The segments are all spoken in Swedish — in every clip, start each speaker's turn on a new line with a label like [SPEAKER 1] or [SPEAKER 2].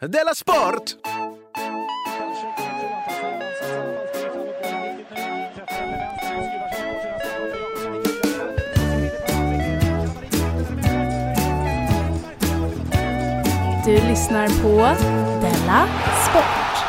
[SPEAKER 1] Della Sport!
[SPEAKER 2] Du lyssnar på Della Sport.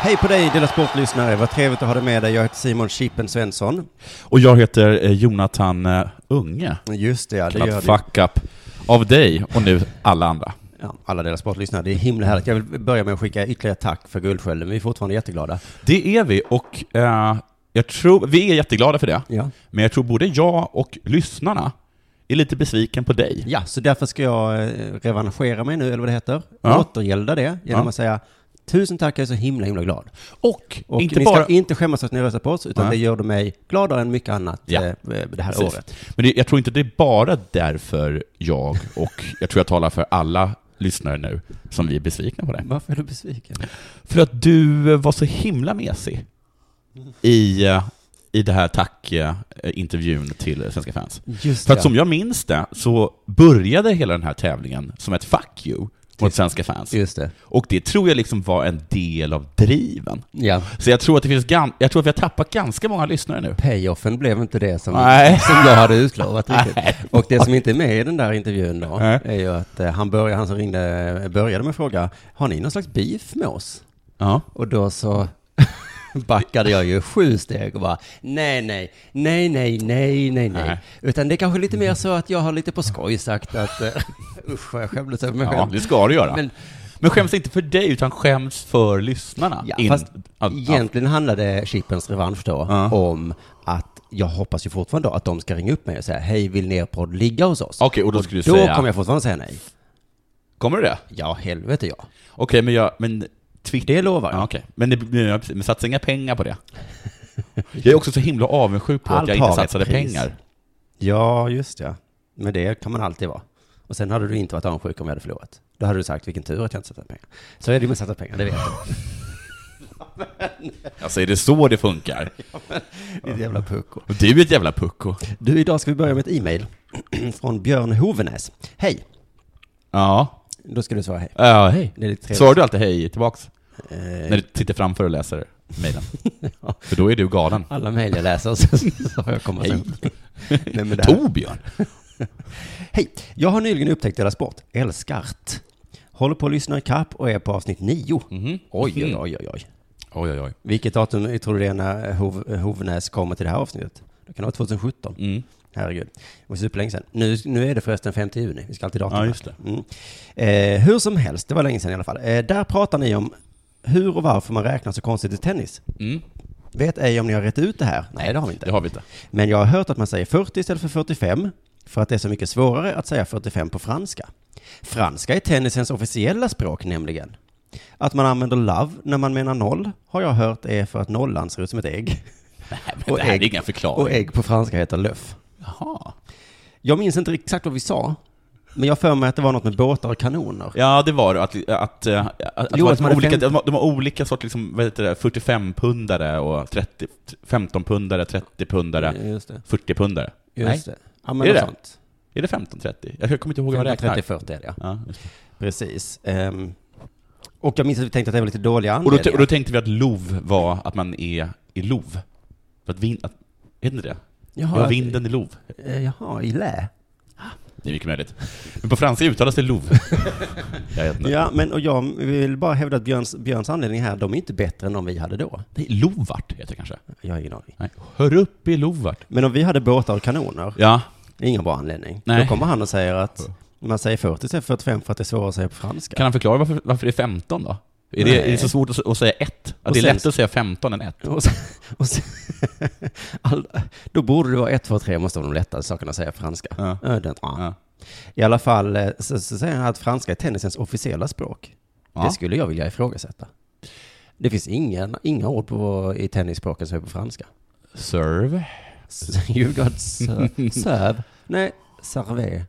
[SPEAKER 3] Hej på dig Dela Sport-lyssnare, vad trevligt att ha dig med dig. Jag heter Simon Chippen Svensson.
[SPEAKER 4] Och jag heter eh, Jonathan eh, Unge.
[SPEAKER 3] Just det, ja, det gör
[SPEAKER 4] Kallad
[SPEAKER 3] du.
[SPEAKER 4] fuck up av dig och nu alla andra.
[SPEAKER 3] Ja, alla Dela Sport-lyssnare, det är himla härligt. Jag vill börja med att skicka ytterligare tack för Guldskölden. Vi är fortfarande jätteglada.
[SPEAKER 4] Det är vi och eh, jag tror, vi är jätteglada för det.
[SPEAKER 3] Ja.
[SPEAKER 4] Men jag tror både jag och lyssnarna är lite besviken på dig.
[SPEAKER 3] Ja, så därför ska jag eh, revanschera mig nu, eller vad det heter.
[SPEAKER 4] Ja.
[SPEAKER 3] Återgälda det genom
[SPEAKER 4] Ja.
[SPEAKER 3] att säga Tusen tack, jag är så himla, himla glad.
[SPEAKER 4] Och,
[SPEAKER 3] Och
[SPEAKER 4] inte
[SPEAKER 3] ni
[SPEAKER 4] bara...
[SPEAKER 3] ska inte skämmas att ni röstar på oss, utan
[SPEAKER 4] Nej.
[SPEAKER 3] det gör mig gladare än mycket annat
[SPEAKER 4] Ja.
[SPEAKER 3] eh, det här
[SPEAKER 4] Precis.
[SPEAKER 3] året.
[SPEAKER 4] Men det, jag tror inte det är bara därför jag och jag tror jag talar för alla lyssnare nu som vi är besvikna på dig.
[SPEAKER 3] Varför är du besviken?
[SPEAKER 4] För att du eh, var så himla mesig i, eh, i det här tack-intervjun till Svenska fans.
[SPEAKER 3] Just
[SPEAKER 4] För att
[SPEAKER 3] det.
[SPEAKER 4] som jag minns det så började hela den här tävlingen som ett fuck you mot svenska fans.
[SPEAKER 3] Just det.
[SPEAKER 4] Och det tror jag liksom var en del av driven.
[SPEAKER 3] Ja.
[SPEAKER 4] Så jag tror att, det finns gam- jag tror att vi har tappat ganska många lyssnare nu.
[SPEAKER 3] Payoffen blev inte det som,
[SPEAKER 4] Nej.
[SPEAKER 3] som jag hade utlovat
[SPEAKER 4] Nej.
[SPEAKER 3] riktigt. Och det som inte är med i den där intervjun då,
[SPEAKER 4] Nej.
[SPEAKER 3] är ju att eh, han, började, han som ringde började med att fråga, har ni någon slags beef med oss?
[SPEAKER 4] Ja.
[SPEAKER 3] Och då så backade jag ju sju steg och bara nej, nej, nej, nej, nej, nej, nej.
[SPEAKER 4] Nej.
[SPEAKER 3] Utan det är kanske lite mer så att jag har lite på skoj sagt att eh, usch vad jag skämdes över mig
[SPEAKER 4] ja,
[SPEAKER 3] själv.
[SPEAKER 4] det ska du göra.
[SPEAKER 3] Men-
[SPEAKER 4] Men, skäms inte för dig, utan skäms för lyssnarna.
[SPEAKER 3] Ja,
[SPEAKER 4] In-
[SPEAKER 3] fast
[SPEAKER 4] att- att-
[SPEAKER 3] egentligen handlade Chippens revansch då om att jag hoppas ju fortfarande då att de ska ringa upp mig och säga hej, vill er podd ligga hos oss?
[SPEAKER 4] Okej, och då skulle du
[SPEAKER 3] Då
[SPEAKER 4] säga...
[SPEAKER 3] kommer jag fortfarande säga nej.
[SPEAKER 4] Kommer du det?
[SPEAKER 3] Ja, helvete ja.
[SPEAKER 4] Okej, men jag... Men Twitter...
[SPEAKER 3] Det lovar jag.
[SPEAKER 4] Ja, okej. Men, det- men, jag- men satsa inga pengar på det. Jag är också så himla avundsjuk på
[SPEAKER 3] Allt
[SPEAKER 4] att jag inte
[SPEAKER 3] har ett
[SPEAKER 4] satsade
[SPEAKER 3] pris.
[SPEAKER 4] pengar.
[SPEAKER 3] Ja, just ja. Men det kan man alltid vara. Och sen hade du inte varit avundsjuk om jag hade förlorat. Då hade du sagt vilken tur att jag inte satte pengar. Så är det ju med satta pengar, det vet du.
[SPEAKER 4] Alltså är det så det funkar?
[SPEAKER 3] Ditt jävla pucko.
[SPEAKER 4] Och Du är ett jävla pucko.
[SPEAKER 3] Du, idag ska vi börja med ett e-mail från Björn Hovenäs. Hej!
[SPEAKER 4] Ja.
[SPEAKER 3] Då ska du svara hej.
[SPEAKER 4] Ja, eh, hej.
[SPEAKER 3] Det är lite trevligt.
[SPEAKER 4] Svarar du alltid hej tillbaks?
[SPEAKER 3] Eh,
[SPEAKER 4] När du sitter framför och läser mejlen?
[SPEAKER 3] Ja.
[SPEAKER 4] För då är du galen.
[SPEAKER 3] Alla mejl jag läser så, så har jag kommit
[SPEAKER 4] Hej.
[SPEAKER 3] sen. Nej, men det här-
[SPEAKER 4] Torbjörn!
[SPEAKER 3] Hej! Jag har nyligen upptäckt Della Sport. Älskart. Håller på att lyssna ikapp och är på avsnitt nio.
[SPEAKER 4] Mhm.
[SPEAKER 3] Oj, oj, oj, oj, oj.
[SPEAKER 4] Oj, oj, oj.
[SPEAKER 3] Vilket datum tror du det är när Hov, Hovnäs kommer till det här avsnittet? Det kan vara 2017.
[SPEAKER 4] Mm.
[SPEAKER 3] Herregud. Det var superlänge sedan. Nu, nu är det förresten 5 juni. Vi ska alltid datum.
[SPEAKER 4] Ja,
[SPEAKER 3] här.
[SPEAKER 4] just det.
[SPEAKER 3] Mm. Eh, hur som helst, det var länge sedan i alla fall. Eh, där pratar ni om hur och varför man räknar så konstigt i tennis.
[SPEAKER 4] Mm.
[SPEAKER 3] Vet ej om ni har rätt ut det här? Nej, det har vi inte.
[SPEAKER 4] Det har vi inte.
[SPEAKER 3] Men jag har hört att man säger 40 istället för 45 för att det är så mycket svårare att säga 45 på franska. Franska är tennisens officiella språk nämligen. Att man använder love när man menar noll har jag hört är för att nollan ser ut som ett ägg.
[SPEAKER 4] Men
[SPEAKER 3] Och
[SPEAKER 4] det här är
[SPEAKER 3] ägg.
[SPEAKER 4] ingen förklaring.
[SPEAKER 3] Och ägg på franska heter löff.
[SPEAKER 4] Jaha.
[SPEAKER 3] Jag minns inte exakt vad vi sa, men jag för mig att det var något med båtar och kanoner.
[SPEAKER 4] Ja, det var det. Att, att, eh, att, att,
[SPEAKER 3] Jo,
[SPEAKER 4] de,
[SPEAKER 3] att man
[SPEAKER 4] har
[SPEAKER 3] är
[SPEAKER 4] olika,
[SPEAKER 3] fem-
[SPEAKER 4] de har- de har olika sorters liksom, vad heter det, 45-pundare och 30, 15-pundare, 30-pundare,
[SPEAKER 3] Just det.
[SPEAKER 4] 40-pundare. Nej,
[SPEAKER 3] Just det. Ja, men
[SPEAKER 4] Är det
[SPEAKER 3] något
[SPEAKER 4] det?
[SPEAKER 3] sånt.
[SPEAKER 4] är det 15-30? Jag kommer inte ihåg hur man räknar.
[SPEAKER 3] 30-40 är det, ja.
[SPEAKER 4] Ja, just det.
[SPEAKER 3] Precis. Ehm, och jag minns att vi tänkte att det var lite dåliga
[SPEAKER 4] och, då,
[SPEAKER 3] anledningar.
[SPEAKER 4] t- och då tänkte vi att lov var att man är i lov. För att vin, att, heter det det?
[SPEAKER 3] Jaha,
[SPEAKER 4] Ja, vinden i lov.
[SPEAKER 3] eh, Jaha, i lä.
[SPEAKER 4] Det är mycket möjligt. Men på franska uttalas det lov. jag vet inte.
[SPEAKER 3] Ja, men och jag vill bara hävda att Björns, Björns anledning här, de är inte bättre än de vi hade då.
[SPEAKER 4] Nej, lovart heter det kanske.
[SPEAKER 3] Jag har ingen aning.
[SPEAKER 4] Nej. Hör upp i lovart.
[SPEAKER 3] Men om vi hade båtar och kanoner,
[SPEAKER 4] Ja,
[SPEAKER 3] det är ingen bra anledning.
[SPEAKER 4] Nej.
[SPEAKER 3] Då kommer han och säger att man säger 40 istället för 45 för att det är svårare att säga på franska.
[SPEAKER 4] kan han förklara varför, varför det är 15 då? Är
[SPEAKER 3] Nej.
[SPEAKER 4] det, är det så svårt att, att säga 1? Att
[SPEAKER 3] Och
[SPEAKER 4] det är
[SPEAKER 3] sen-
[SPEAKER 4] lättare att säga 15 än 1?
[SPEAKER 3] Och sen, och sen, all, då borde det vara 1, 2, 3 måste vara de lättaste sakerna att säga på franska.
[SPEAKER 4] Ja.
[SPEAKER 3] Ö, den, ja.
[SPEAKER 4] Ja.
[SPEAKER 3] I alla fall eh, så, så säger han att franska är tennisens officiella språk.
[SPEAKER 4] Ja.
[SPEAKER 3] Det skulle jag vilja ifrågasätta. Det finns ingen, inga ord på, i tennisspråken som är på franska.
[SPEAKER 4] Serve.
[SPEAKER 3] You got ser- serve. Nej, serve.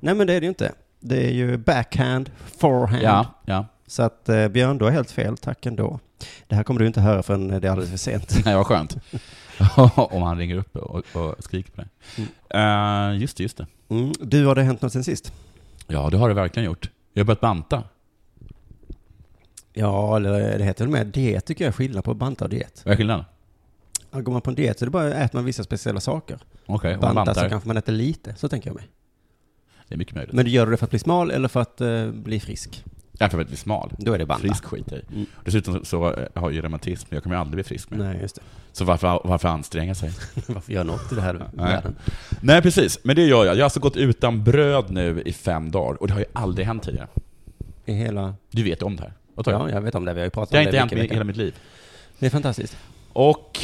[SPEAKER 3] Nej men det är det ju inte. Det är ju backhand, forehand.
[SPEAKER 4] Ja, ja.
[SPEAKER 3] Så att eh, Björn, du har helt fel. Tack ändå. Det här kommer du inte höra förrän det är alldeles för sent.
[SPEAKER 4] Nej, vad skönt. Om han ringer upp och, och skriker på dig. Eh, just det, just det.
[SPEAKER 3] Mm. Du, har det hänt något sen sist?
[SPEAKER 4] Ja, det har det verkligen gjort. Jag har börjat banta.
[SPEAKER 3] Ja, eller eh, det heter väl mer diet tycker jag är skillnad på banta och diet.
[SPEAKER 4] Vad är skillnaden?
[SPEAKER 3] Ja, Går man på en diet så är det bara äter man vissa speciella saker.
[SPEAKER 4] Okej, okay,
[SPEAKER 3] Banta
[SPEAKER 4] bantar.
[SPEAKER 3] så kanske man äter lite, så tänker jag mig.
[SPEAKER 4] Det är mycket möjligt.
[SPEAKER 3] Men gör du det för att bli smal eller för att eh, bli frisk?
[SPEAKER 4] Jag är för att bli smal.
[SPEAKER 3] Då är det banta.
[SPEAKER 4] Frisk skiter jag i.
[SPEAKER 3] Mm.
[SPEAKER 4] Dessutom så eh, har jag ju reumatism, jag kommer ju aldrig bli frisk mer.
[SPEAKER 3] Nej, just det.
[SPEAKER 4] Så varför, varför anstränga sig?
[SPEAKER 3] Varför gör något i det här
[SPEAKER 4] Nej.
[SPEAKER 3] världen?
[SPEAKER 4] Nej, precis. Men det gör jag. Jag har alltså gått utan bröd nu i fem dagar och det har ju aldrig hänt tidigare.
[SPEAKER 3] I hela...
[SPEAKER 4] Du vet om det här. Vad tar jag?
[SPEAKER 3] Ja, jag vet om det. Vi har ju pratat
[SPEAKER 4] Det har
[SPEAKER 3] om
[SPEAKER 4] inte
[SPEAKER 3] det
[SPEAKER 4] hänt
[SPEAKER 3] mycket i
[SPEAKER 4] i hela
[SPEAKER 3] veckan.
[SPEAKER 4] mitt liv.
[SPEAKER 3] Det är fantastiskt.
[SPEAKER 4] Och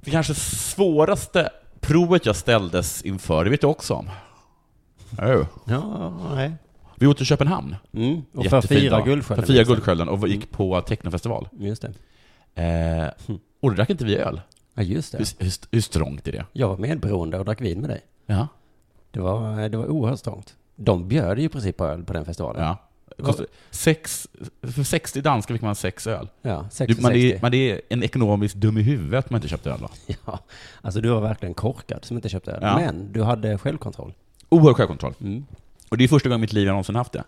[SPEAKER 4] det kanske svåraste provet jag ställdes inför, det vet jag också om. Oh.
[SPEAKER 3] Ja, nej.
[SPEAKER 4] Vi åkte till Köpenhamn.
[SPEAKER 3] Mm. Och för
[SPEAKER 4] Jättefin
[SPEAKER 3] fyra
[SPEAKER 4] dag.
[SPEAKER 3] Guldskölden. liksom. Mm.
[SPEAKER 4] För fyra
[SPEAKER 3] minns jag.
[SPEAKER 4] Guldskölden och gick på technofestival.
[SPEAKER 3] Just det. Mm.
[SPEAKER 4] Eh, och då drack inte vi öl.
[SPEAKER 3] Ja, just
[SPEAKER 4] Hur,
[SPEAKER 3] det.
[SPEAKER 4] hur, hur strångt är det?
[SPEAKER 3] Jag var medberoende och drack vin med dig.
[SPEAKER 4] Ja.
[SPEAKER 3] Det var, det var oerhört strångt. De bjöd ju i princip på öl på den festivalen.
[SPEAKER 4] ja. Kostar, sex, för 60 danska fick man sex öl.
[SPEAKER 3] Ja,
[SPEAKER 4] Du,
[SPEAKER 3] 60
[SPEAKER 4] man, är,
[SPEAKER 3] 60.
[SPEAKER 4] man är en ekonomisk dum i huvudet om man inte köpte öl då.
[SPEAKER 3] Ja, alltså du var verkligen korkad som inte köpte öl.
[SPEAKER 4] Ja.
[SPEAKER 3] Men du hade självkontroll.
[SPEAKER 4] Oerhörd självkontroll.
[SPEAKER 3] Mm.
[SPEAKER 4] Och det är första gången i mitt liv jag någonsin haft det.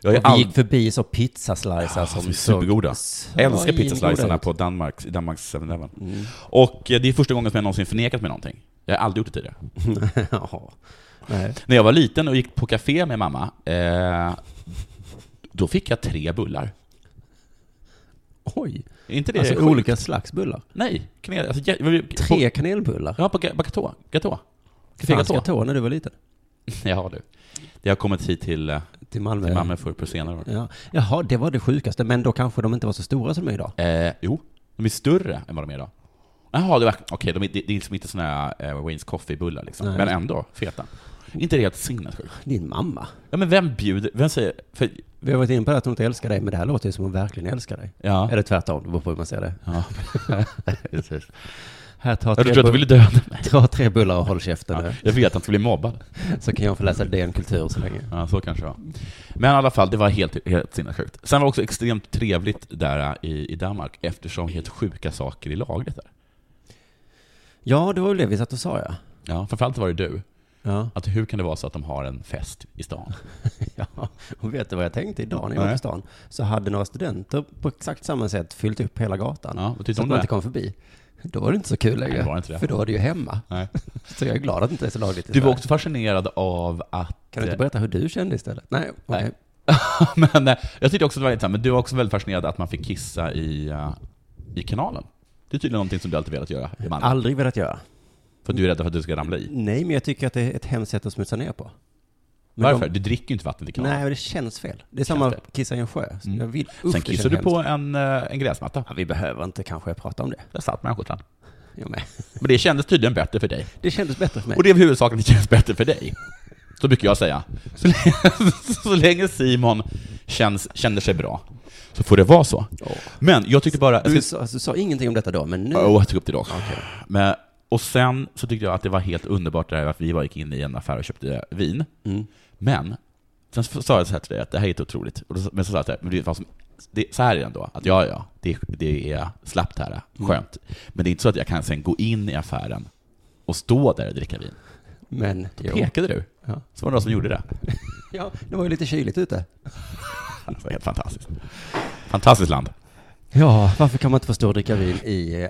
[SPEAKER 4] Jag har
[SPEAKER 3] Och
[SPEAKER 4] ju
[SPEAKER 3] vi
[SPEAKER 4] all...
[SPEAKER 3] gick förbi så pizzaslicer
[SPEAKER 4] Ja, som
[SPEAKER 3] som
[SPEAKER 4] är supergoda.
[SPEAKER 3] såg-
[SPEAKER 4] Jag älskar
[SPEAKER 3] Oj, goda
[SPEAKER 4] pizzaslicerna
[SPEAKER 3] ut.
[SPEAKER 4] på Danmarks, i Danmarks 7-Eleven.
[SPEAKER 3] Mm.
[SPEAKER 4] Och eh, det är första gången som jag någonsin förnekat mig någonting. Jag har aldrig gjort det tidigare.
[SPEAKER 3] Jaha. Nej.
[SPEAKER 4] När jag var liten och gick på café med mamma, eh, då fick jag tre bullar.
[SPEAKER 3] Oj.
[SPEAKER 4] Är inte det
[SPEAKER 3] Alltså
[SPEAKER 4] sjukt?
[SPEAKER 3] olika slags bullar.
[SPEAKER 4] Nej, kanel. Alltså, jag, jag- På,
[SPEAKER 3] Tre kanelbullar.
[SPEAKER 4] ja, på ga- på gatå. Gatå. Café
[SPEAKER 3] Fan, ska
[SPEAKER 4] gatå.
[SPEAKER 3] jag ta när du var liten?
[SPEAKER 4] Ja, du. Det har kommit hit till, eh,
[SPEAKER 3] Till Malmö.
[SPEAKER 4] till Malmö förr på senare år.
[SPEAKER 3] Ja. Jaha, det var det sjukaste. Men då kanske de inte var så stora som de är idag.
[SPEAKER 4] Eh, jo, de är större än vad de är idag. Jaha, det var, okej, de är, det, det är liksom inte såna här eh, Wayne's Coffee-bullar liksom.
[SPEAKER 3] Nej.
[SPEAKER 4] Men ändå, feta. Inte det helt sinnessjukt?
[SPEAKER 3] Din mamma.
[SPEAKER 4] Ja, men vem bjuder, vem säger, för,
[SPEAKER 3] Vi har varit inne på det att hon inte älskar dig, men det här låter ju som hon verkligen älskar dig.
[SPEAKER 4] ja.
[SPEAKER 3] Eller tvärtom, det beror på hur man ser det.
[SPEAKER 4] Ja, precis.
[SPEAKER 3] Här, ta
[SPEAKER 4] Jag
[SPEAKER 3] tre,
[SPEAKER 4] tror att du
[SPEAKER 3] bu-
[SPEAKER 4] ville döda mig.
[SPEAKER 3] ta tre bullar och håll käften
[SPEAKER 4] Ja,
[SPEAKER 3] nu.
[SPEAKER 4] jag vet att jag skulle bli mobbad.
[SPEAKER 3] Så kan jag få läsa DN Kultur så länge.
[SPEAKER 4] Ja, så kanske det var. Men i alla fall, det var helt, helt sinnessjukt. Sen var det också extremt trevligt där äh, i, i Danmark, eftersom helt sjuka saker är lagligt där.
[SPEAKER 3] Ja, det var väl det vi satt och sa ja.
[SPEAKER 4] Ja, framförallt var det du.
[SPEAKER 3] Ja,
[SPEAKER 4] Att hur kan det vara så att de har en fest i stan?
[SPEAKER 3] ja. Och vet du vad jag tänkte idag när jag var
[SPEAKER 4] Nej.
[SPEAKER 3] på stan? Så hade några studenter på exakt samma sätt fyllt upp hela gatan.
[SPEAKER 4] Ja, vad
[SPEAKER 3] så
[SPEAKER 4] tyckte
[SPEAKER 3] att
[SPEAKER 4] du
[SPEAKER 3] man
[SPEAKER 4] om
[SPEAKER 3] inte
[SPEAKER 4] det?
[SPEAKER 3] kom förbi. Då var det inte så kul längre.
[SPEAKER 4] Nej, det var inte det.
[SPEAKER 3] För då var det ju hemma.
[SPEAKER 4] Nej.
[SPEAKER 3] Så jag är glad att det inte är så lagligt i
[SPEAKER 4] Du var
[SPEAKER 3] Sverige.
[SPEAKER 4] också fascinerad av att...
[SPEAKER 3] Kan du inte berätta hur du kände istället? Nej, okej.
[SPEAKER 4] men, eh, jag tyckte också det var lite så här, men du var också väldigt fascinerad att man fick kissa i, eh, i kanalen. Det är tydligen någonting som du alltid velat göra i Malmö.
[SPEAKER 3] Aldrig velat göra.
[SPEAKER 4] För du är rädd för att du ska ramla i.
[SPEAKER 3] Nej, men jag tycker att det är ett hemskt sätt att smutsa ner på. Men
[SPEAKER 4] Varför?
[SPEAKER 3] de-
[SPEAKER 4] Du dricker ju inte vatten i kanalen.
[SPEAKER 3] nej, men det känns fel. Det är samma
[SPEAKER 4] Känns
[SPEAKER 3] att kissa i en sjö. Så
[SPEAKER 4] Mm.
[SPEAKER 3] Jag vill,
[SPEAKER 4] Sen
[SPEAKER 3] Uff, det
[SPEAKER 4] kissar
[SPEAKER 3] känns
[SPEAKER 4] du på en, eh, en gräsmatta.
[SPEAKER 3] Ja, vi behöver inte kanske prata om det.
[SPEAKER 4] Där satt människan. sedan.
[SPEAKER 3] Jag med.
[SPEAKER 4] Men det kändes tydligen bättre för dig.
[SPEAKER 3] Det kändes bättre för mig.
[SPEAKER 4] Och det är väl huvudsaken, det känns bättre för dig. Så brukar jag säga. Så länge, så länge Simon känns, känner sig bra, så får det vara så.
[SPEAKER 3] Ja.
[SPEAKER 4] Men jag tyckte bara...
[SPEAKER 3] du,
[SPEAKER 4] Jag ska,
[SPEAKER 3] sa, du sa ingenting om detta då, men nu...
[SPEAKER 4] oh, jag tog upp det idag också.
[SPEAKER 3] Okej.
[SPEAKER 4] Men, och sen så tyckte jag att det var helt underbart det här att vi bara gick in i en affär och köpte vin.
[SPEAKER 3] Mm.
[SPEAKER 4] Men, sen så sa jag så här till dig att det här är helt otroligt. Och då, men så sa jag så här, men det är vad som, det, så här är det ändå, att ja, ja, det, det är slappt här,
[SPEAKER 3] Mm.
[SPEAKER 4] skönt. Men det är inte så att jag kan sen gå in i affären och stå där och dricka vin.
[SPEAKER 3] Men... Jo.
[SPEAKER 4] Pekade du?
[SPEAKER 3] Ja.
[SPEAKER 4] Så var det någon som gjorde det.
[SPEAKER 3] ja, det var ju lite kyligt ute.
[SPEAKER 4] Alltså, helt fantastiskt. Fantastiskt land.
[SPEAKER 3] Ja, varför kan man inte få stå och dricka vin i,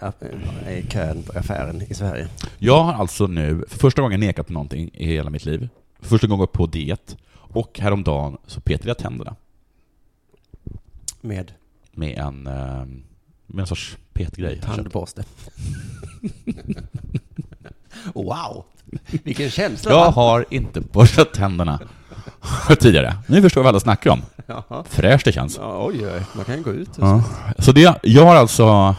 [SPEAKER 3] eh, i kön på affären i Sverige?
[SPEAKER 4] Jag har alltså nu för första gången nekat på någonting i hela mitt liv. Första gången gått på diet. Och häromdagen så petade jag tänderna
[SPEAKER 3] Med
[SPEAKER 4] med en, eh, med en sorts petgrej. jag köpte.
[SPEAKER 3] tandborste. wow! Vilken känsla!
[SPEAKER 4] Jag
[SPEAKER 3] va?
[SPEAKER 4] har inte borstat tänderna tidigare. Nu förstår jag vad alla snackar om.
[SPEAKER 3] Jaha.
[SPEAKER 4] Fräscht det känns.
[SPEAKER 3] Ja, oj, oj, man kan ju gå ut. och så.
[SPEAKER 4] Ja. Så det, jag har alltså,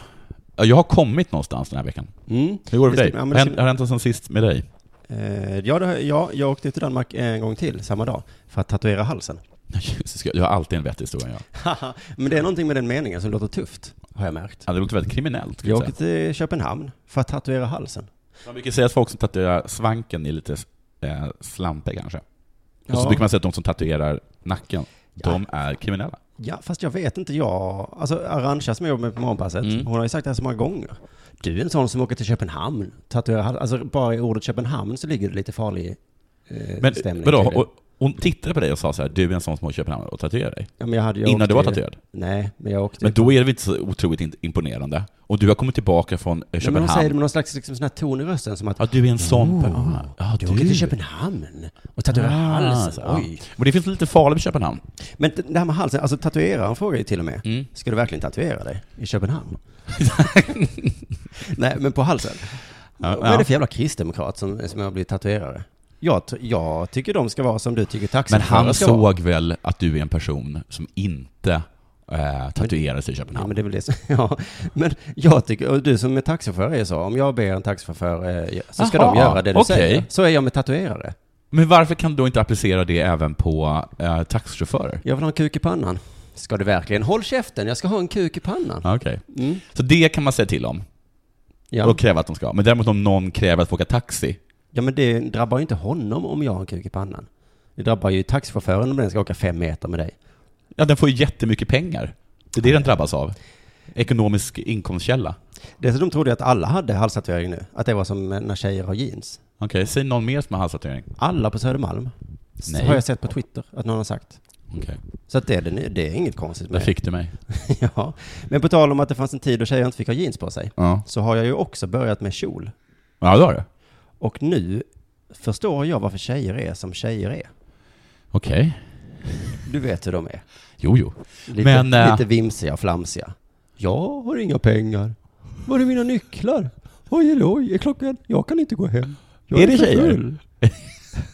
[SPEAKER 4] jag har kommit någonstans den här veckan.
[SPEAKER 3] Mm.
[SPEAKER 4] Hur går det för dig?
[SPEAKER 3] Ja,
[SPEAKER 4] Har
[SPEAKER 3] men det
[SPEAKER 4] hänt-
[SPEAKER 3] ska-
[SPEAKER 4] har det hänt något sen sist med dig?
[SPEAKER 3] Eh, ja, det, har- ja, jag åkte till Danmark en gång till samma dag för att tatuera halsen.
[SPEAKER 4] Jesus, jag har alltid en vettig historia jag.
[SPEAKER 3] Haha, Men det är någonting med den meningen som låter tufft, har jag märkt.
[SPEAKER 4] Ja, det låter väldigt kriminellt. skulle
[SPEAKER 3] Jag
[SPEAKER 4] Jag
[SPEAKER 3] åkte
[SPEAKER 4] säga.
[SPEAKER 3] till Köpenhamn för att tatuera halsen.
[SPEAKER 4] Man brukar säga att folk som tatuerar svanken är lite eh, slampiga kanske. Och så
[SPEAKER 3] Ja.
[SPEAKER 4] brukar man säga att de som tatuerar nacken, de är kriminella.
[SPEAKER 3] Ja, fast jag vet inte, jag... Alltså, Arantxa som jag jobbar med på morgonpasset,
[SPEAKER 4] Mm.
[SPEAKER 3] hon har ju sagt det här så många gånger. Du är en sån som åker till Köpenhamn, tatuerar halsen. Alltså, bara i ordet Köpenhamn så ligger det lite farlig eh,
[SPEAKER 4] Men
[SPEAKER 3] stämning.
[SPEAKER 4] vadå,
[SPEAKER 3] tydligen.
[SPEAKER 4] och, Hon tittade på dig och sa så här, du är en sån som köper hamnar och tatuerar dig.
[SPEAKER 3] Ja, men jag hade, jag
[SPEAKER 4] Innan du var
[SPEAKER 3] åkte-
[SPEAKER 4] tatuerad.
[SPEAKER 3] Nej, men jag åkte
[SPEAKER 4] Men då är det väl inte så otroligt in- imponerande. Och du har kommit tillbaka från eh,
[SPEAKER 3] Nej, men hon säger det
[SPEAKER 4] Köpenhamn.
[SPEAKER 3] med någon slags liksom, sån här ton i rösten som att
[SPEAKER 4] Ja, du är en sån person. Ja,
[SPEAKER 3] du åker till Köpenhamn och
[SPEAKER 4] Ah,
[SPEAKER 3] tatuerar halsen.
[SPEAKER 4] ja.
[SPEAKER 3] Oj.
[SPEAKER 4] Men det finns lite farligt med Köpenhamn.
[SPEAKER 3] Men t- det här med halsen, alltså tatueraren frågar ju till och med,
[SPEAKER 4] Mm.
[SPEAKER 3] ska du verkligen tatuera dig i Köpenhamn? Nej, men på halsen.
[SPEAKER 4] Ja,
[SPEAKER 3] Vad är
[SPEAKER 4] ja.
[SPEAKER 3] det för jävla kristdemokrat som, som har blivit tatuerare? Jag, t- jag tycker de ska vara som du tycker
[SPEAKER 4] Men
[SPEAKER 3] taxiförare
[SPEAKER 4] han
[SPEAKER 3] ska vara.
[SPEAKER 4] såg väl att du är en person som inte eh, tatuerar sig i
[SPEAKER 3] Ja, men
[SPEAKER 4] Köpenhamn.
[SPEAKER 3] det är väl det som, ja. Men jag tycker, och du som är taxichaufför sa, om jag ber en taxichaufför eh, så ska
[SPEAKER 4] Aha,
[SPEAKER 3] de göra det du
[SPEAKER 4] okej.
[SPEAKER 3] säger. Så är jag med tatuerare.
[SPEAKER 4] Men varför kan du då inte applicera det även på eh, taxichaufförer?
[SPEAKER 3] Jag vill ha en kuk i pannan. Ska du verkligen? Håll käften, jag ska ha en kuk i pannan.
[SPEAKER 4] Ja, Okej.
[SPEAKER 3] Mm.
[SPEAKER 4] Så det kan man säga till om
[SPEAKER 3] Ja.
[SPEAKER 4] och kräva att de ska ha. Men däremot om någon kräver att få åka taxi,
[SPEAKER 3] ja, men det drabbar ju inte honom om jag har en kuk i pannan. Det drabbar ju taxichauffören om den ska åka fem meter med dig.
[SPEAKER 4] ja den får ju jättemycket pengar. Det är det den drabbas av. Ekonomisk inkomstkälla.
[SPEAKER 3] Dessutom trodde jag att alla hade halstatuering nu. Att det var som när tjejer har jeans.
[SPEAKER 4] Okej, säg någon mer som har halstatuering.
[SPEAKER 3] Alla på Södermalm.
[SPEAKER 4] Nej.
[SPEAKER 3] Nej. Har jag sett på Twitter att någon har sagt.
[SPEAKER 4] Okej,
[SPEAKER 3] Så att det, är det, nu- det är inget konstigt
[SPEAKER 4] där
[SPEAKER 3] med
[SPEAKER 4] fick du mig.
[SPEAKER 3] det. Ja. Men på tal om att det fanns en tid då tjejer inte fick ha jeans på sig.
[SPEAKER 4] Ja,
[SPEAKER 3] Så har jag ju också börjat med kjol.
[SPEAKER 4] ja det har du.
[SPEAKER 3] Och nu förstår jag varför tjejer är som tjejer är.
[SPEAKER 4] Okej.
[SPEAKER 3] Du vet hur de är.
[SPEAKER 4] Jo, jo.
[SPEAKER 3] Lite,
[SPEAKER 4] Men, eh,
[SPEAKER 3] lite vimsiga och flamsiga. Jag har inga pengar. Var är mina nycklar? Oj, oj, oj, är klockan? Jag kan inte gå hem. Jag
[SPEAKER 4] Är det
[SPEAKER 3] för
[SPEAKER 4] tjejer?
[SPEAKER 3] full.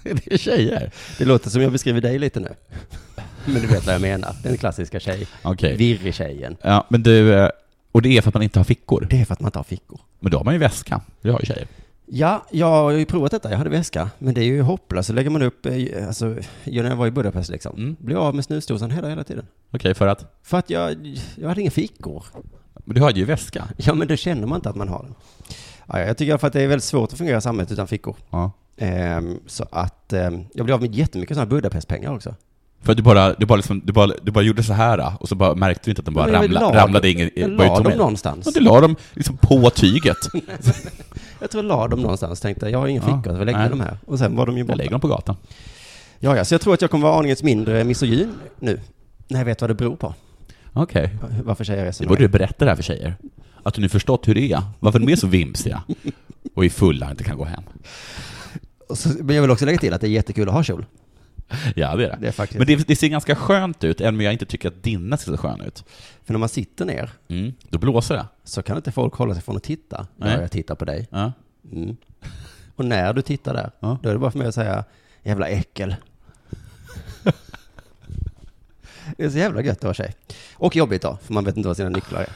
[SPEAKER 4] det är tjejer.
[SPEAKER 3] Det låter som jag beskriver dig lite nu. Men du vet vad jag menar. Den klassiska tjej.
[SPEAKER 4] Okej.
[SPEAKER 3] Virrig tjejen.
[SPEAKER 4] Ja, men du, eh, och det är för att man inte har fickor.
[SPEAKER 3] Det är för att man inte har fickor.
[SPEAKER 4] Men då har man ju väska. Det har ju tjejer.
[SPEAKER 3] Ja, jag har ju provat detta. Jag hade väska. Men det är ju hopplöst. Så lägger man upp, eh, alltså, jag när jag var i Budapest liksom.
[SPEAKER 4] Mm.
[SPEAKER 3] Blev av med snusdosan hela, hela tiden.
[SPEAKER 4] Okej, för att?
[SPEAKER 3] För att jag, jag hade inga fickor.
[SPEAKER 4] Men du har ju väska.
[SPEAKER 3] Ja, men då känner man inte att man har den. Ja, jag tycker i alla fall att det är väldigt svårt att fungera i samhället utan fickor.
[SPEAKER 4] Ja.
[SPEAKER 3] Ehm, så att ehm, jag blev av med jättemycket sådana Budapestpengar också.
[SPEAKER 4] För att du bara, du bara, liksom, du bara, du bara gjorde så här och så bara märkte du inte att de bara
[SPEAKER 3] Men jag
[SPEAKER 4] ramla,
[SPEAKER 3] la-
[SPEAKER 4] ramlade in i
[SPEAKER 3] Jag
[SPEAKER 4] var ju
[SPEAKER 3] la
[SPEAKER 4] tom
[SPEAKER 3] dem
[SPEAKER 4] i-
[SPEAKER 3] någonstans.
[SPEAKER 4] Och du la dem liksom på tyget.
[SPEAKER 3] Jag tror jag la dem någonstans. Tänkte jag har inga
[SPEAKER 4] Ja,
[SPEAKER 3] fickor, så jag lägger
[SPEAKER 4] nej.
[SPEAKER 3] de här. Och sen var de ju
[SPEAKER 4] Jag
[SPEAKER 3] borta.
[SPEAKER 4] lägger dem på gatan.
[SPEAKER 3] Ja, ja, så jag tror att jag kommer vara aningens mindre misogyn nu. När jag vet vad det beror på.
[SPEAKER 4] Okej.
[SPEAKER 3] Varför tjejer är
[SPEAKER 4] Det
[SPEAKER 3] som de
[SPEAKER 4] borde
[SPEAKER 3] är.
[SPEAKER 4] du berätta det här för tjejer. Att du nu förstått hur det är. Varför de är så vimsiga. Och är fulla och inte kan gå hem.
[SPEAKER 3] Och så, men jag vill också lägga till att det är jättekul att ha kjol.
[SPEAKER 4] Ja, det är det.
[SPEAKER 3] Det är faktiskt.
[SPEAKER 4] Men det, det ser ganska skönt ut, även om jag inte tycker att dina ser så sköna ut.
[SPEAKER 3] För när man sitter ner
[SPEAKER 4] Mm. Då blåser det.
[SPEAKER 3] så kan inte folk hålla sig från att titta.
[SPEAKER 4] Nej.
[SPEAKER 3] Ja, jag tittar på dig.
[SPEAKER 4] Ja.
[SPEAKER 3] Mm. Och när du tittar där,
[SPEAKER 4] Ja.
[SPEAKER 3] då är det bara för mig att säga jävla äckel. det är så jävla gött att vara tjej. Och jobbigt då, för man vet inte vad sina nycklar är.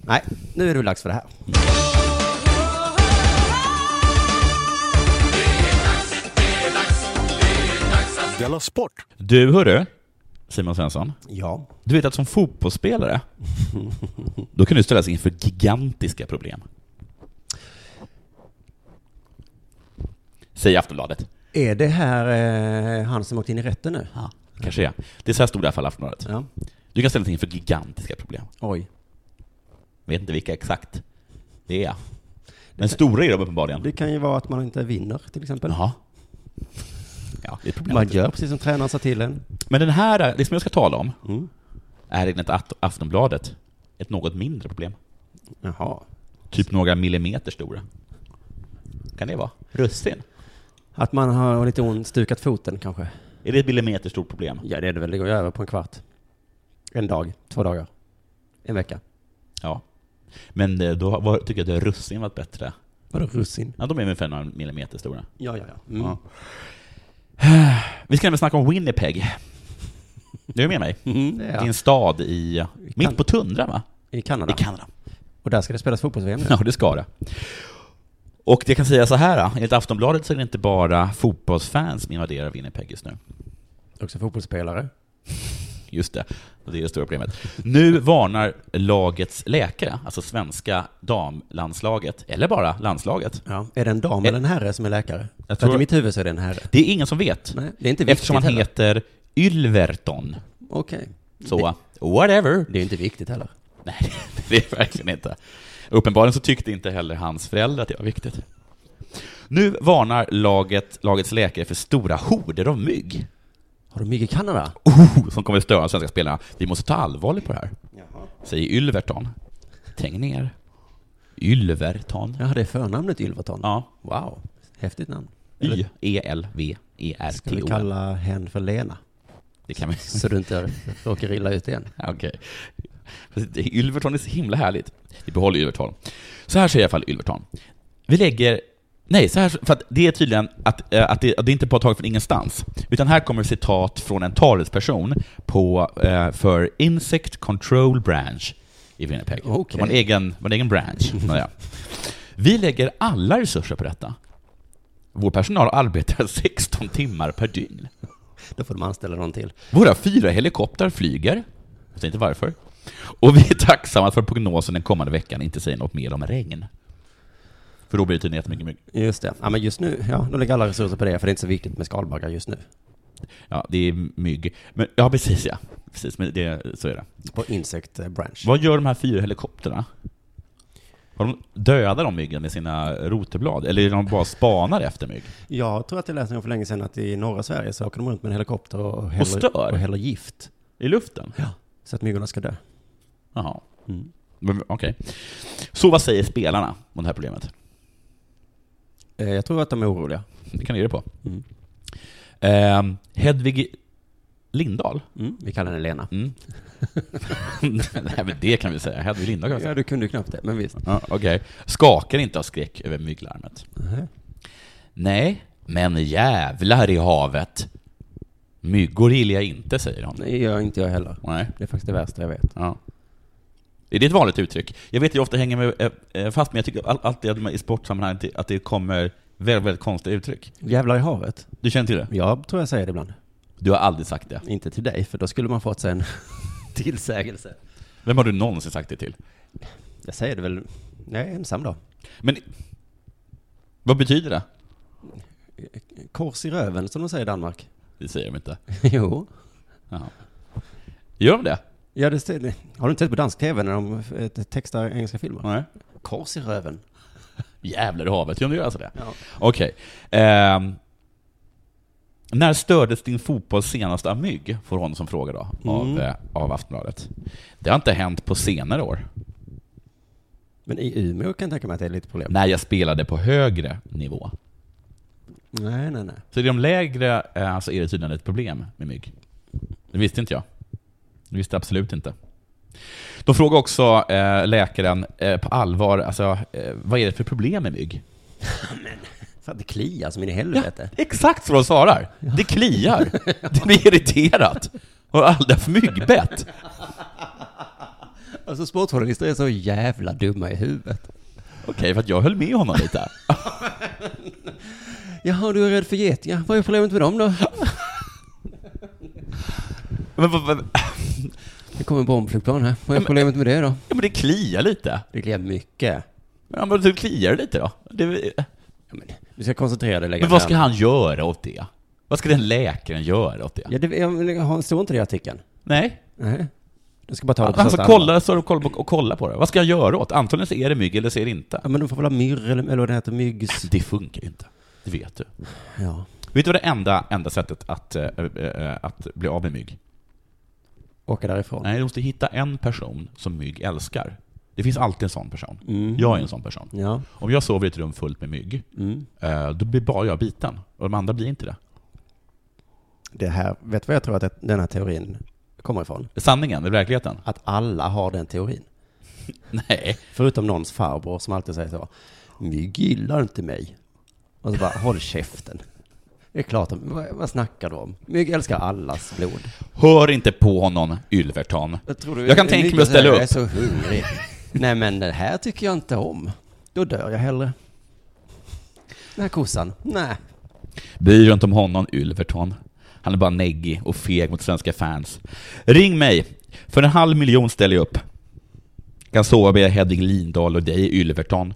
[SPEAKER 3] Nej, nu är det dags för det här.
[SPEAKER 1] Della Sport!
[SPEAKER 4] Du, hörru, Simon Svensson.
[SPEAKER 3] Ja.
[SPEAKER 4] Du vet att som fotbollsspelare, då kan du ställas inför gigantiska problem. Säger Aftonbladet.
[SPEAKER 3] Är det här eh, han som åkte in i rätten nu?
[SPEAKER 4] Ja, kanske det. Det är så här stod det i alla fall i Aftonbladet.
[SPEAKER 3] Ja.
[SPEAKER 4] Du kan ställas inför gigantiska problem.
[SPEAKER 3] Oj.
[SPEAKER 4] Vet inte vilka exakt det är. Men stora är de uppenbarligen.
[SPEAKER 3] Det kan ju vara att man inte vinner till exempel.
[SPEAKER 4] Jaha. Ja, det är ett problem.
[SPEAKER 3] Man gör precis som tränaren sa till en.
[SPEAKER 4] Men den här, det som jag ska tala om,
[SPEAKER 3] Mm.
[SPEAKER 4] är enligt Aft- Aftonbladet ett något mindre problem.
[SPEAKER 3] Jaha.
[SPEAKER 4] Typ några millimeter stora. Kan det vara? Russin?
[SPEAKER 3] Att man har lite ont, stukat foten kanske.
[SPEAKER 4] Är det ett millimeter stort problem?
[SPEAKER 3] Ja, det är det väl. Det går ju över på en kvart. En dag, två dagar, en vecka.
[SPEAKER 4] Ja. Men eh, då var, tycker jag att russin varit bättre.
[SPEAKER 3] Vadå russin?
[SPEAKER 4] Ja, de är ungefär några millimeter stora.
[SPEAKER 3] Ja, ja, ja. Mm.
[SPEAKER 4] Ja. Vi ska nämligen snacka om Winnipeg. Du är med mig?
[SPEAKER 3] Mm, det
[SPEAKER 4] Det
[SPEAKER 3] är
[SPEAKER 4] är en
[SPEAKER 3] jag.
[SPEAKER 4] stad i... Mitt på tundran, va?
[SPEAKER 3] I Kanada.
[SPEAKER 4] I Kanada.
[SPEAKER 3] Och där ska det spelas fotbolls-VM nu.
[SPEAKER 4] Ja, det ska det. Och jag kan säga så här, eh, enligt Aftonbladet så är det inte bara fotbollsfans som invaderar Winnipeg just nu.
[SPEAKER 3] Också fotbollsspelare.
[SPEAKER 4] Just det, och det är det stora problemet. Nu varnar lagets läkare, alltså svenska damlandslaget, eller bara landslaget.
[SPEAKER 3] Ja. Är det en dam eller en herre som är läkare? Jag
[SPEAKER 4] Eh. tror-
[SPEAKER 3] tror... I mitt huvud så är det en herre.
[SPEAKER 4] Det är ingen som vet,
[SPEAKER 3] Nej, det är inte viktigt
[SPEAKER 4] eftersom han
[SPEAKER 3] heller.
[SPEAKER 4] heter Ylverton.
[SPEAKER 3] Okej.
[SPEAKER 4] Så, whatever.
[SPEAKER 3] Det är inte viktigt heller.
[SPEAKER 4] Nej, det är verkligen inte. Uppenbarligen så tyckte inte heller hans föräldrar att det var viktigt. Nu varnar laget, lagets läkare för stora horder av mygg
[SPEAKER 3] Har de mygg i Kanada?
[SPEAKER 4] oh, som kommer störa de svenska spelarna. Vi måste ta allvarligt på det här, säger Ylverton. Träng ner. Ylverton.
[SPEAKER 3] Ja, det är förnamnet Ylverton.
[SPEAKER 4] Ja. E
[SPEAKER 3] Wow, häftigt namn. Ska vi
[SPEAKER 4] Y-E-L-V-E-R-T-O-N.
[SPEAKER 3] kalla henne för Lena?
[SPEAKER 4] Det kan vi...
[SPEAKER 3] Så du inte råkar illa ut igen.
[SPEAKER 4] Ja, Okej. Fast det- Ylverton är så himla härligt. Vi behåller Ylverton. Så här säger i alla fall Ylverton. Vi lägger... Nej, så här, för att det är tydligen att, eh, att, det, att det inte är påtaget från ingenstans. Utan här kommer citat från en talesperson på, eh, för Insect Control Branch i Winnipeg.
[SPEAKER 3] Okej.
[SPEAKER 4] De har en egen, de har en egen branch. Nåja. Vi lägger alla resurser på detta. Vår personal arbetar 16 timmar per dygn.
[SPEAKER 3] Då får de anställa någon till.
[SPEAKER 4] Våra fyra helikoptrar flyger. Jag säger inte varför. Och vi är tacksamma för att prognosen den kommande veckan inte säger något mer om regn. För då blir det tydligen jättemycket mygg.
[SPEAKER 3] Just det. Ja, men just nu, ja, de lägger alla resurser på det, för det är inte så viktigt med skalbaggar just nu.
[SPEAKER 4] Ja, det är mygg. Men, ja, precis ja. Precis, men det, så är det.
[SPEAKER 3] På Insect eh, Branch.
[SPEAKER 4] Vad gör de här fyra helikoptrarna? Har de, dödar de myggen med sina roteblad? Eller är de bara spanar efter mygg?
[SPEAKER 3] Jag tror att jag läste någon för länge sedan att i norra Sverige så åker de runt med en helikopter och häller,
[SPEAKER 4] stör.
[SPEAKER 3] och häller gift.
[SPEAKER 4] I luften?
[SPEAKER 3] Ja. Mm. Så att myggorna ska dö.
[SPEAKER 4] Jaha. Men, Okej. Så vad säger spelarna om det här problemet?
[SPEAKER 3] Eh, Jag tror att de är oroliga.
[SPEAKER 4] Det kan ni ge er på.
[SPEAKER 3] Mm.
[SPEAKER 4] Ehm, Hedvig Lindahl?
[SPEAKER 3] Vi kallar henne Lena.
[SPEAKER 4] Mm. Nej men det kan vi säga, Hedvig Lindahl kan vi säga.
[SPEAKER 3] Ja, du kunde ju knappt det, men visst.
[SPEAKER 4] Ja, Okej. Skakar inte av skräck över mygglarmet. Nej, men jävlar i havet. Myggor gillar jag inte, säger han.
[SPEAKER 3] Nej, gör inte jag heller.
[SPEAKER 4] Nej.
[SPEAKER 3] Det är faktiskt det värsta jag vet.
[SPEAKER 4] Ja. Är det ett vanligt uttryck? Jag vet ju ofta hänger med, eh, eh, fast men jag tycker all- alltid att man i sportsammanhang att det kommer väldigt, väldigt konstiga uttryck.
[SPEAKER 3] Jävlar i havet.
[SPEAKER 4] Du känner till det?
[SPEAKER 3] Jag tror jag säger det ibland.
[SPEAKER 4] Du har aldrig sagt det.
[SPEAKER 3] Inte till dig, för då skulle man fått sig en tillsägelse.
[SPEAKER 4] Vem har du någonsin sagt det till?
[SPEAKER 3] Jag säger det väl när jag är ensam då.
[SPEAKER 4] Men vad betyder det?
[SPEAKER 3] Kors i röven, som de säger i Danmark.
[SPEAKER 4] Det säger de inte.
[SPEAKER 3] jo.
[SPEAKER 4] Jaha. Gör de det?
[SPEAKER 3] Ja, det stämmer. Har du inte sett på dansk tv när de eh, textar engelska filmer?
[SPEAKER 4] Nej.
[SPEAKER 3] Kors i röven.
[SPEAKER 4] Jävlar i havet, ja nu gör alltså det.
[SPEAKER 3] Ja.
[SPEAKER 4] Okej. Ehm, när stördes din fotboll senast av mygg? Får hon som fråga då, av,
[SPEAKER 3] Mm.
[SPEAKER 4] eh, av Aftonbladet. Det har inte hänt på senare år.
[SPEAKER 3] Men i Umeå kan jag tänka mig att det är lite problem.
[SPEAKER 4] När jag spelade på högre nivå.
[SPEAKER 3] Nej, nej, nej.
[SPEAKER 4] Så i de lägre eh, så är det tydligen ett problem med mygg. Det visste inte jag. Det visste jag absolut inte. De frågar också eh, läkaren eh, på allvar, alltså, eh, vad är det för problem med mygg?
[SPEAKER 3] För att det kliar som in i
[SPEAKER 4] Ja,
[SPEAKER 3] helvete.
[SPEAKER 4] exakt så de svarar. Det kliar. Det blir irriterat. Har aldrig haft myggbett.
[SPEAKER 3] Alltså sportjournalister är så jävla dumma i huvudet.
[SPEAKER 4] Okej, för att jag höll med honom lite.
[SPEAKER 3] Jaha, du är rädd för getingar. Vad är problemet med dem då?
[SPEAKER 4] Men, vad- vad-
[SPEAKER 3] Det kommer en bombflygplan här. Vad är problemet med det då?
[SPEAKER 4] ja, men det kliar lite.
[SPEAKER 3] Det kliar mycket.
[SPEAKER 4] Ja, men du kliar det lite då. Det,
[SPEAKER 3] Ja, men, du ska koncentrera dig. lägga
[SPEAKER 4] men vad
[SPEAKER 3] fram.
[SPEAKER 4] ska han göra åt det? Vad ska den läkaren göra åt det?
[SPEAKER 3] Ja, det, jag, men, har- står inte det i artikeln?
[SPEAKER 4] Nej.
[SPEAKER 3] Nej. Du ska bara ta det på
[SPEAKER 4] Han
[SPEAKER 3] största
[SPEAKER 4] ska
[SPEAKER 3] allvar.
[SPEAKER 4] kolla, så har de koll på, och kolla på det. Vad ska jag göra åt? Antingen så är det mygg eller så är det inte.
[SPEAKER 3] Ja, men de får väl ha myrr eller, eller vad det heter, myggs...
[SPEAKER 4] Det funkar ju inte. Det vet du.
[SPEAKER 3] Ja.
[SPEAKER 4] Vet du vad det enda, enda sättet att, eh, eh, att bli av med mygg?
[SPEAKER 3] Åka därifrån.
[SPEAKER 4] Nej, du måste hitta en person som mygg älskar. Det finns alltid en sån person.
[SPEAKER 3] Mm.
[SPEAKER 4] Jag är en sån person.
[SPEAKER 3] Ja.
[SPEAKER 4] Om jag sover i ett rum fullt med mygg,
[SPEAKER 3] Mm.
[SPEAKER 4] eh, då blir bara jag biten. Och de andra blir inte det.
[SPEAKER 3] Det här, vet du vad jag tror att det- den här teorin kommer ifrån?
[SPEAKER 4] Sanningen, i verkligheten.
[SPEAKER 3] Att alla har den teorin.
[SPEAKER 4] Nej.
[SPEAKER 3] Förutom någons farbror som alltid säger så. Mygg gillar inte mig. Och så bara, håll käften. Det är klart, de- vad, vad snackar du om? Mygg älskar allas blod.
[SPEAKER 4] Hör inte på honom, Ylvertan.
[SPEAKER 3] Jag, tror du,
[SPEAKER 4] Jag kan tänka mig att ställa
[SPEAKER 3] Jag är
[SPEAKER 4] upp.
[SPEAKER 3] så hungrig. Nej men det här tycker jag inte om. Då dör jag hellre. Den här kossan. Nej.
[SPEAKER 4] Bry dig inte om honom, Ylverton. Han är bara neggig och feg mot svenska fans. Ring mig! För en halv miljon ställer jag upp. Kan sova med Hedvig Lindahl och dig, Ylverton.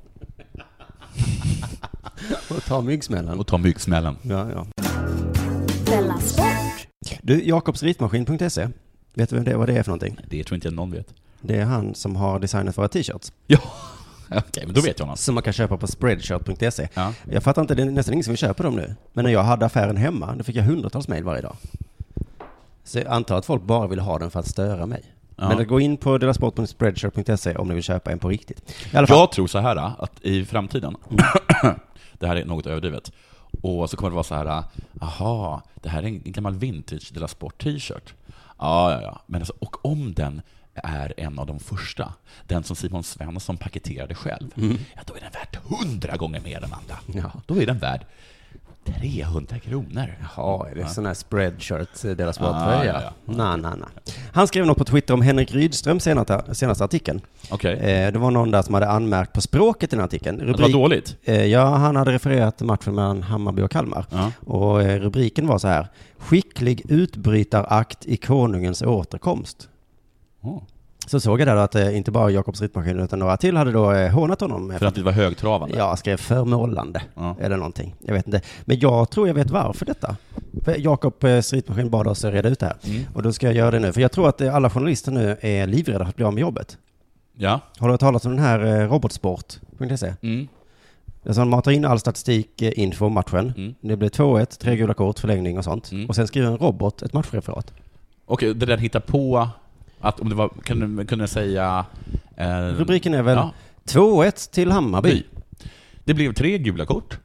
[SPEAKER 3] Och ta myggsmällen.
[SPEAKER 4] Och ta myggsmällen.
[SPEAKER 3] Ja, ja.
[SPEAKER 2] Della Sport.
[SPEAKER 3] Du, jakobsritmaskin.se. Vet du vem det, vad det är för någonting?
[SPEAKER 4] Det tror inte jag någon vet.
[SPEAKER 3] Det är han som har designat våra t-shirts.
[SPEAKER 4] Ja, Okej, men då vet jag något.
[SPEAKER 3] Som man kan köpa på spreadshirt.se.
[SPEAKER 4] Ja.
[SPEAKER 3] Jag fattar inte, det är nästan ingen som vill köpa dem nu. Men när jag hade affären hemma, då fick jag hundratals mejl varje dag. Så jag antar att folk bara vill ha den för att störa mig.
[SPEAKER 4] Ja.
[SPEAKER 3] Men gå in på delasport.spreadshirt.se om ni vill köpa en på riktigt. I alla fall,
[SPEAKER 4] Jag tror så här att i framtiden, det här är något överdrivet, och så kommer det vara så här, aha, det här är en gammal vintage De La Sport t-shirt. Ja, ja, ja. Men alltså, och om den är en av de första, den som Simon Svensson paketerade själv, ja, då är den värd hundra gånger mer än andra.
[SPEAKER 3] Mm. Ja.
[SPEAKER 4] Då är den värd 300 kronor.
[SPEAKER 3] Ja, är det sån här spreadshirt, eh, deras
[SPEAKER 4] Ah,
[SPEAKER 3] sporttröja?
[SPEAKER 4] ja,
[SPEAKER 3] Ah,
[SPEAKER 4] ja.
[SPEAKER 3] Nej, nej, nej. Han skrev något på Twitter om Henrik Rydström senaste, senaste artikeln.
[SPEAKER 4] Okej.
[SPEAKER 3] Eh, det var någon där som hade anmärkt på språket i den här artikeln.
[SPEAKER 4] Det var dåligt.
[SPEAKER 3] Eh, ja, han hade refererat matchen mellan Hammarby och Kalmar.
[SPEAKER 4] Ja.
[SPEAKER 3] Och eh, rubriken var så här. Skicklig utbrytarakt i konungens återkomst.
[SPEAKER 4] Oh.
[SPEAKER 3] Så såg jag där då att eh, inte bara Jakobs Rittmaskin utan några till hade då eh, hånat honom.
[SPEAKER 4] För att det var högtravande.
[SPEAKER 3] Ja, skrev förmålande
[SPEAKER 4] Ja.
[SPEAKER 3] eller någonting. Jag vet inte. Men jag tror jag vet varför detta. För Jakob eh, Stridsmaskin bad oss reda ut det här.
[SPEAKER 4] Mm.
[SPEAKER 3] Och då ska jag göra det nu. För jag tror att eh, alla journalister nu är livrädda för att bli av med jobbet.
[SPEAKER 4] Ja.
[SPEAKER 3] Har du hört talas om den här eh, robotsport.se?
[SPEAKER 4] Mm.
[SPEAKER 3] Alltså han matar in all statistik, eh, info om matchen.
[SPEAKER 4] Mm.
[SPEAKER 3] Det blir 2-1, tre gula kort, förlängning och sånt.
[SPEAKER 4] Mm.
[SPEAKER 3] Och sen skriver en robot ett matchreferat.
[SPEAKER 4] Okej, det där hittar på att om det var, kunde, kunde säga... Eh,
[SPEAKER 3] Rubriken är väl
[SPEAKER 4] Ja.
[SPEAKER 3] 2-1 till Hammarby.
[SPEAKER 4] By. Det blev tre gula kort.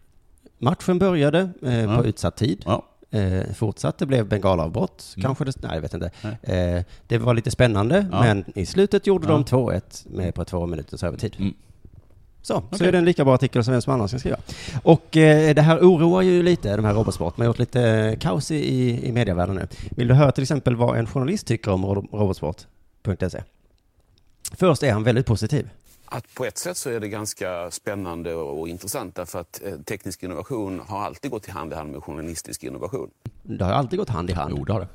[SPEAKER 3] Matchen började eh,
[SPEAKER 4] Ja.
[SPEAKER 3] på utsatt tid.
[SPEAKER 4] Ja.
[SPEAKER 3] Eh, fortsatt, det blev bengalavbrott.
[SPEAKER 4] Mm.
[SPEAKER 3] Kanske det, nej jag vet inte.
[SPEAKER 4] Nej.
[SPEAKER 3] Eh, det var lite spännande,
[SPEAKER 4] Ja.
[SPEAKER 3] men i slutet gjorde de
[SPEAKER 4] Ja.
[SPEAKER 3] 2-1 med på två minuters övertid.
[SPEAKER 4] Mm.
[SPEAKER 3] Så, så
[SPEAKER 4] Okej.
[SPEAKER 3] är det en lika bra artikel som vem som annars kan skriva. Och eh, det här oroar ju lite, de här robotsport. Man har gjort lite eh, kaos i, i, i medievärlden nu. Vill du höra till exempel vad en journalist tycker om ro- robotsport.se? Först är han väldigt positiv.
[SPEAKER 5] Att på ett sätt så är det ganska spännande och intressant därför att eh, teknisk innovation har alltid gått i hand i hand med journalistisk innovation.
[SPEAKER 3] Det har alltid gått hand i hand.
[SPEAKER 4] Jo, det har det.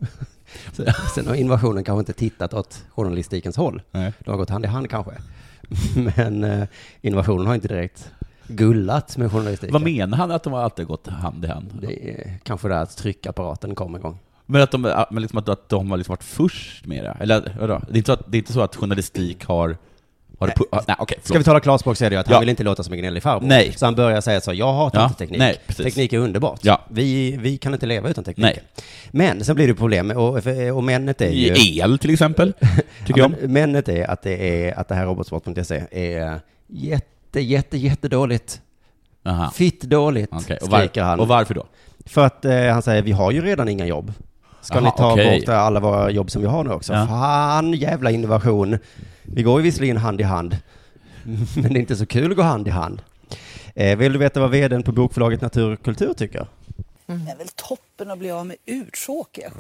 [SPEAKER 3] Så- Sen har innovationen kanske inte tittat åt journalistikens håll.
[SPEAKER 4] Nej.
[SPEAKER 3] De har gått hand i hand kanske. Men eh, innovationen har inte direkt gullat med journalistiken.
[SPEAKER 4] Vad menar han att de har alltid gått hand i hand?
[SPEAKER 3] det är kanske det att tryckapparaten kom igång.
[SPEAKER 4] Men att de, men liksom att, att de har liksom varit först med det? Eller vadå? Det är inte så att, det är inte så att journalistik har... har det pu- har- nej, okej.
[SPEAKER 3] Ska vi
[SPEAKER 4] förlåt.
[SPEAKER 3] tala klarspråk så är det ju att han
[SPEAKER 4] Ja.
[SPEAKER 3] vill inte låta som en gnällig farbror.
[SPEAKER 4] Nej.
[SPEAKER 3] Så han börjar säga så, jag hatar
[SPEAKER 4] Ja,
[SPEAKER 3] inte teknik.
[SPEAKER 4] nej, precis.
[SPEAKER 3] teknik är underbart.
[SPEAKER 4] Ja.
[SPEAKER 3] Vi, vi kan inte leva utan teknik.
[SPEAKER 4] Nej.
[SPEAKER 3] Men sen blir det problem, och, och männet är ju...
[SPEAKER 4] I El till exempel, tycker
[SPEAKER 3] Ja,
[SPEAKER 4] jag om.
[SPEAKER 3] men, männet är att det är att det här robotsport.se är jätte, jätte, jättedåligt.
[SPEAKER 4] Aha.
[SPEAKER 3] Fitt dåligt,
[SPEAKER 4] Okej, Och,
[SPEAKER 3] skriker han.
[SPEAKER 4] var, och varför då?
[SPEAKER 3] För att eh, han säger, vi har ju redan inga jobb. Ska
[SPEAKER 4] Aha,
[SPEAKER 3] ni ta
[SPEAKER 4] okej.
[SPEAKER 3] bort alla våra jobb som vi har nu också?
[SPEAKER 4] Ja.
[SPEAKER 3] Fan, jävla innovation. Vi går ju visserligen hand i hand, men det är inte så kul att gå hand i hand. Eh, vill du veta vad vdn på bokförlaget Natur och Kultur tycker?
[SPEAKER 6] Mm. Det är väl toppen att bli av med urtråkiga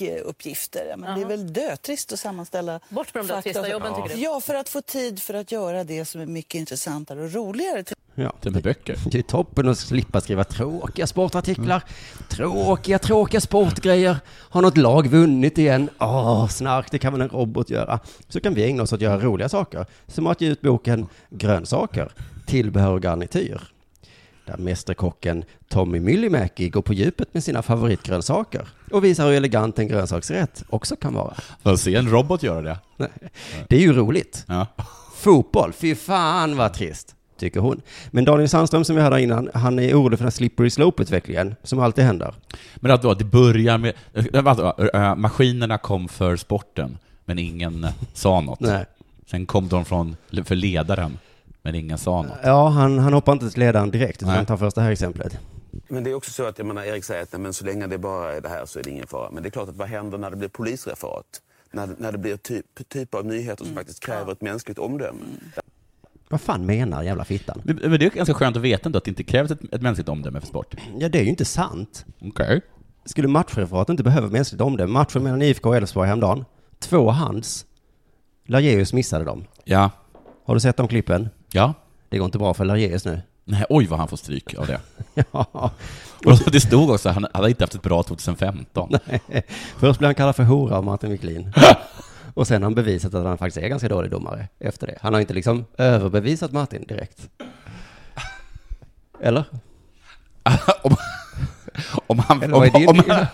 [SPEAKER 6] journalistikuppgifter. Men det är väl dötrist att sammanställa
[SPEAKER 7] Bort med de där
[SPEAKER 6] fakta.
[SPEAKER 7] trista jobben, tycker du?
[SPEAKER 6] Ja, för att få tid för att göra det som är mycket intressantare och roligare. Till
[SPEAKER 3] Ja.
[SPEAKER 4] Det med böcker?
[SPEAKER 3] Det är toppen att slippa skriva tråkiga sportartiklar. Tråkiga, tråkiga sportgrejer. Har något lag vunnit igen? Åh, snark, det kan väl en robot göra. Så kan vi ägna oss åt att göra roliga saker. Som att ge ut boken Grönsaker, tillbehör och garnityr. Där mästerkocken Tommy Myllymäki går på djupet med sina favoritgrönsaker och visar hur elegant en grönsaksrätt också kan vara.
[SPEAKER 4] Får se en robot göra det?
[SPEAKER 3] Det är ju roligt.
[SPEAKER 4] Ja.
[SPEAKER 3] Fotboll, fy fan vad trist, tycker hon. Men Daniel Sandström som vi hade här innan, han är orolig för den här slippery slope-utvecklingen som alltid händer.
[SPEAKER 4] Men att då, det börjar med... Äh, vänta, äh, maskinerna kom för sporten, men ingen sa något.
[SPEAKER 3] Nej.
[SPEAKER 4] Sen kom de från, för ledaren, men ingen sa något.
[SPEAKER 3] Ja, han, han hoppar inte till ledaren direkt, utan
[SPEAKER 4] Nej.
[SPEAKER 3] han tar först det här exemplet.
[SPEAKER 5] Men det är också så att jag menar, Erik säger att nej, men så länge det bara är det här så är det ingen fara. Men det är klart att vad händer när det blir polisreferat? När, när det blir typ, typ av nyheter som
[SPEAKER 1] Mm.
[SPEAKER 5] faktiskt kräver ett mänskligt omdöme?
[SPEAKER 3] Vad fan menar jävla fittan?
[SPEAKER 4] Men men det är ganska skönt att veta ändå att det inte krävs ett, ett mänskligt omdöme för sport.
[SPEAKER 3] Ja, det är ju inte sant.
[SPEAKER 4] Okej.
[SPEAKER 3] Skulle matchreferat inte behöva mänskligt omdöme? Matchen mellan IFK och Elfsborg häromdagen. Två hands. Lageus missade dem.
[SPEAKER 4] Ja.
[SPEAKER 3] Har du sett de klippen?
[SPEAKER 4] Ja.
[SPEAKER 3] Det går inte bra för Lageus nu.
[SPEAKER 4] Nej, oj vad han får stryk av det.
[SPEAKER 3] Ja.
[SPEAKER 4] Och så- det stod också, han hade inte haft ett bra 2015.
[SPEAKER 3] Först blev han kallad för hora av Martin Wiklin. Och sen har han bevisat att han faktiskt är ganska dålig domare efter det. Han har inte liksom överbevisat Martin direkt. Eller?
[SPEAKER 4] Om- Om han...
[SPEAKER 3] Eller vad är din,
[SPEAKER 4] om, om,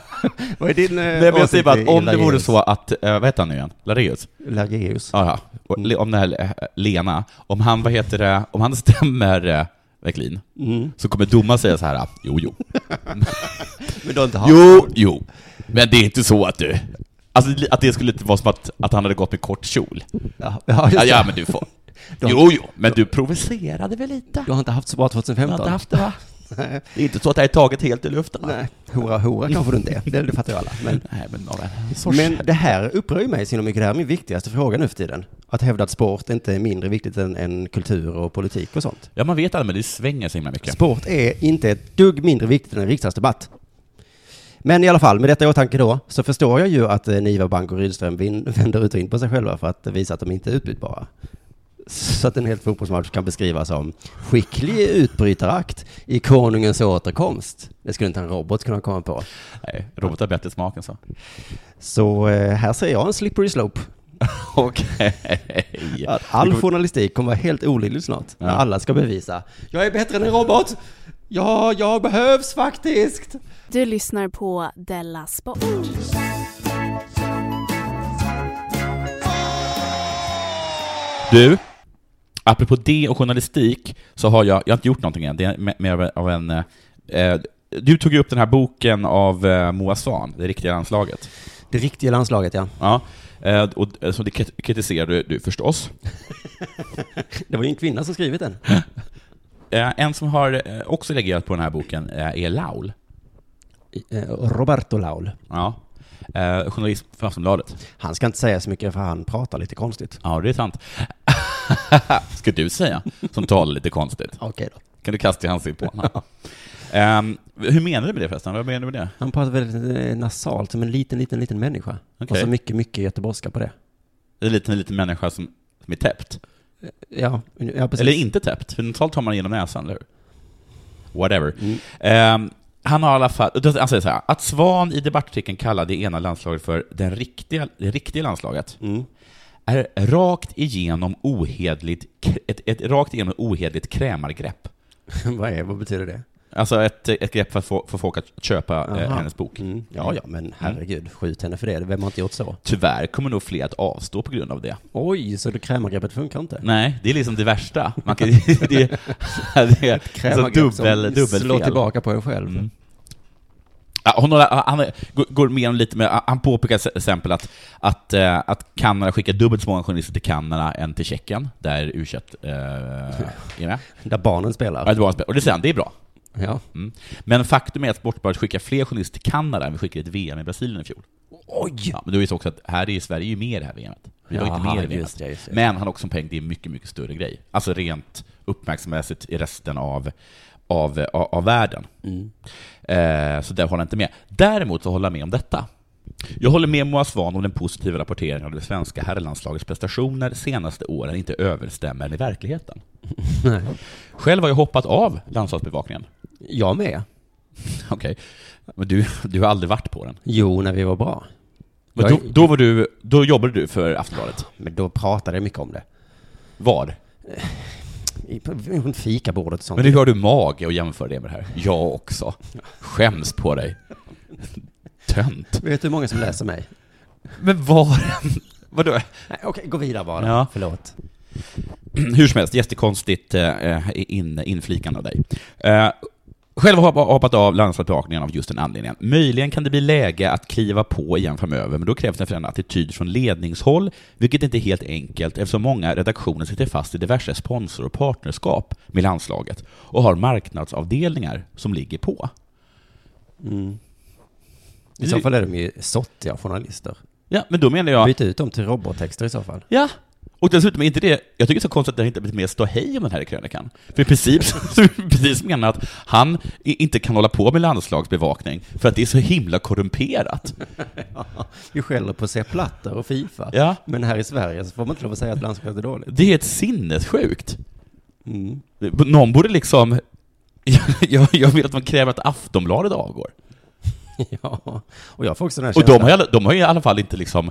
[SPEAKER 3] vad är din eh,
[SPEAKER 4] nej, men jag säger bara att
[SPEAKER 3] i
[SPEAKER 4] om det vore
[SPEAKER 3] Lageus?
[SPEAKER 4] så att, eh, vad heter han nu igen? Lareus?
[SPEAKER 3] Lageus.
[SPEAKER 4] Ja, ja. Och Le- Om den här eh, Lena, om han, vad heter det, om han stämmer eh, Vecklin, så kommer domaren säga så här, ah, jo, jo.
[SPEAKER 3] Men du har inte haft
[SPEAKER 4] Jo, jo. Men det är inte så att du... Alltså li- att det skulle inte vara som att, att han hade gått med kort kjol.
[SPEAKER 3] Ja, ja, just
[SPEAKER 4] Ja,
[SPEAKER 3] det.
[SPEAKER 4] ja men du får. Jo, jo, men du provocerade väl lite?
[SPEAKER 3] Du har inte haft så bra 2015?
[SPEAKER 4] Du har inte haft det va? Det är inte så att det här är taget helt i luften va?
[SPEAKER 3] Nej, hora hora kanske du inte är. Det, det fattar ju alla. Men,
[SPEAKER 4] Nej, men nåväl.
[SPEAKER 3] men det här upprör ju mig så himla mycket. Det här är min viktigaste fråga nu för tiden. Att hävda att sport inte är mindre viktigt än, än kultur och politik och sånt.
[SPEAKER 4] Ja, man vet aldrig, men det svänger så himla mycket.
[SPEAKER 3] Sport är inte ett dugg mindre viktigt än en riksdagsdebatt. Men i alla fall, med detta i åtanke då, så förstår jag ju att eh, Niva Bank och Rydström vin- vänder ut och in på sig själva för att visa att de inte är utbytbara. Så att en hel fotbollsmatch kan beskrivas som skicklig utbrytarakt i konungens återkomst. Det skulle inte en robot kunna komma på.
[SPEAKER 4] Nej, Robert har bättre smak än så.
[SPEAKER 3] Så eh, här ser jag en slippery slope.
[SPEAKER 4] Okej.
[SPEAKER 3] Att all journalistik kommer vara helt olidlig snart. När alla ska bevisa. Jag är bättre än en robot! Ja, jag behövs faktiskt!
[SPEAKER 2] Du lyssnar på Della Sport.
[SPEAKER 4] Du, apropå det och journalistik, så har jag, jag har inte gjort någonting än, det är me- mer av en- av en... Eh, du tog ju upp den här boken av eh, Moa Svahn, Det riktiga landslaget.
[SPEAKER 3] Det riktiga landslaget, ja.
[SPEAKER 4] Ja, eh, och, eh, så det krit- kritiserar du, du förstås.
[SPEAKER 3] Det var ju en kvinna som skrivit den.
[SPEAKER 4] Eh, en som har eh, också reagerat på den här boken eh, är Laul.
[SPEAKER 3] Eh, Roberto Laul.
[SPEAKER 4] Ja. Eh, journalist för Aftonbladet.
[SPEAKER 3] Han ska inte säga så mycket för han pratar lite konstigt.
[SPEAKER 4] Ja, det är sant. Ska du säga, som talar lite konstigt.
[SPEAKER 3] Okej då.
[SPEAKER 4] Kan du kasta i handskrift på honom? Ehm, hur menar du med det förresten? Vad menar du med det?
[SPEAKER 3] Han pratar väldigt eh, nasalt, som en liten, liten, liten människa. Och
[SPEAKER 4] Okej.
[SPEAKER 3] så mycket, mycket göteborgska på det.
[SPEAKER 4] Det är lite en liten människa som, som är täppt.
[SPEAKER 3] Ja, ja precis.
[SPEAKER 4] Eller inte täppt, för normalt tar man genom näsan, eller hur? Whatever. Ehm, han har i alla fall, han säger så här, att Svan i debattartikeln kallar det ena landslaget för den riktiga, det riktiga landslaget
[SPEAKER 3] Mm,
[SPEAKER 4] är rakt igenom ohedligt, ett, ett rakt igenom ohedligt krämargrepp.
[SPEAKER 3] vad, är, vad betyder det?
[SPEAKER 4] Alltså ett, ett grepp för att få, få folk att köpa eh,
[SPEAKER 3] Aha.
[SPEAKER 4] hennes bok.
[SPEAKER 3] Mm. Ja, ja, men herregud, skjut henne för det. Vem har inte gjort så?
[SPEAKER 4] Tyvärr kommer nog fler att avstå på grund av
[SPEAKER 3] Mm.
[SPEAKER 4] det.
[SPEAKER 3] Oj, så det krämargreppet funkar inte?
[SPEAKER 4] Nej, det är liksom det värsta. Man kan, det, det
[SPEAKER 3] Alltså,
[SPEAKER 4] är så dubbel,
[SPEAKER 3] Slå
[SPEAKER 4] dubbelfel.
[SPEAKER 3] tillbaka på en själv.
[SPEAKER 4] Ja, Hon har, han går- går med om lite, men han påpekar till exempel att, att, eh, att Kanada skickar dubbelt så många journalister till Kanada än till Tjeckien, där u eh, är med.
[SPEAKER 3] Där barnen
[SPEAKER 4] Ja,
[SPEAKER 3] spelar.
[SPEAKER 4] det var en spel- Och det säger han, det är bra.
[SPEAKER 3] Ja.
[SPEAKER 4] Mm. Men faktum är att Sportbladet skickar fler journalister till Kanada än vi skickade till VM i Brasilien i fjol.
[SPEAKER 3] Oj!
[SPEAKER 4] Ja, men då är det så också att här är Sverige ju med i det här VMet. Vi var
[SPEAKER 3] Jaha,
[SPEAKER 4] inte med i VMet.
[SPEAKER 3] just det, just det.
[SPEAKER 4] Men han har också en poäng, det är en mycket, mycket större grej. Alltså rent uppmärksamhetsmässigt i resten av, av, av, av världen.
[SPEAKER 3] Mm.
[SPEAKER 4] Eh, så där håller jag inte med. Däremot så håller jag med om detta. Jag håller med Moa Svahn om den positiva rapporteringen av det svenska herrlandslagets prestationer senaste åren inte överstämmer med verkligheten. Själv har jag hoppat av landslagsbevakningen.
[SPEAKER 3] Jag med.
[SPEAKER 4] Okej, men du, du har aldrig varit på den.
[SPEAKER 3] Jo, när vi var bra.
[SPEAKER 4] Men
[SPEAKER 3] Jag
[SPEAKER 4] då,
[SPEAKER 3] är-
[SPEAKER 4] då, var du, då jobbade du för Aftonbladet.
[SPEAKER 3] Men då pratade jag mycket om det.
[SPEAKER 4] Var?
[SPEAKER 3] I- på- Runt fikabordet och sånt.
[SPEAKER 4] Men hur har du mage att jämföra det med det här? Jag också. Skäms på dig. Tönt.
[SPEAKER 3] Vet du hur många som läser mig?
[SPEAKER 4] Men var Vadå?
[SPEAKER 3] Nej, okej, gå vidare bara.
[SPEAKER 4] Ja.
[SPEAKER 3] Förlåt.
[SPEAKER 4] Hur som helst, jättekonstigt eh, in, inflikande av dig. Eh, själv har jag bara hoppat av landslagsbevakningen av just den anledningen. Möjligen kan det bli läge att kliva på igen framöver, men då krävs det en förändrad attityd från ledningshåll, vilket inte är helt enkelt eftersom många redaktioner sitter fast i diverse sponsor och partnerskap med landslaget och har marknadsavdelningar som ligger på.
[SPEAKER 3] I så fall är de ju sottiga journalister.
[SPEAKER 4] Ja, men då menar jag...
[SPEAKER 3] Byt ut dem till robottexter i så fall.
[SPEAKER 4] Ja. Och dessutom är inte det, jag tycker det är så konstigt att det inte har blivit mer ståhej om den här krönikan. För i princip, så precis menar att han i- inte kan hålla på med landslagsbevakning för att det är så himla korrumperat.
[SPEAKER 3] Vi skäller på Sepp Blatter och Fifa.
[SPEAKER 4] Ja.
[SPEAKER 3] Men här i Sverige så får man inte lov att säga att landslaget är dåligt. Mm.
[SPEAKER 4] Det är ett sinnessjukt. Någon borde liksom, jag, jag vill att man kräver att Aftonbladet avgår.
[SPEAKER 3] ja. Och jag får också den här
[SPEAKER 4] Och de
[SPEAKER 3] känslan.
[SPEAKER 4] har, ju alla- de har ju i alla fall inte liksom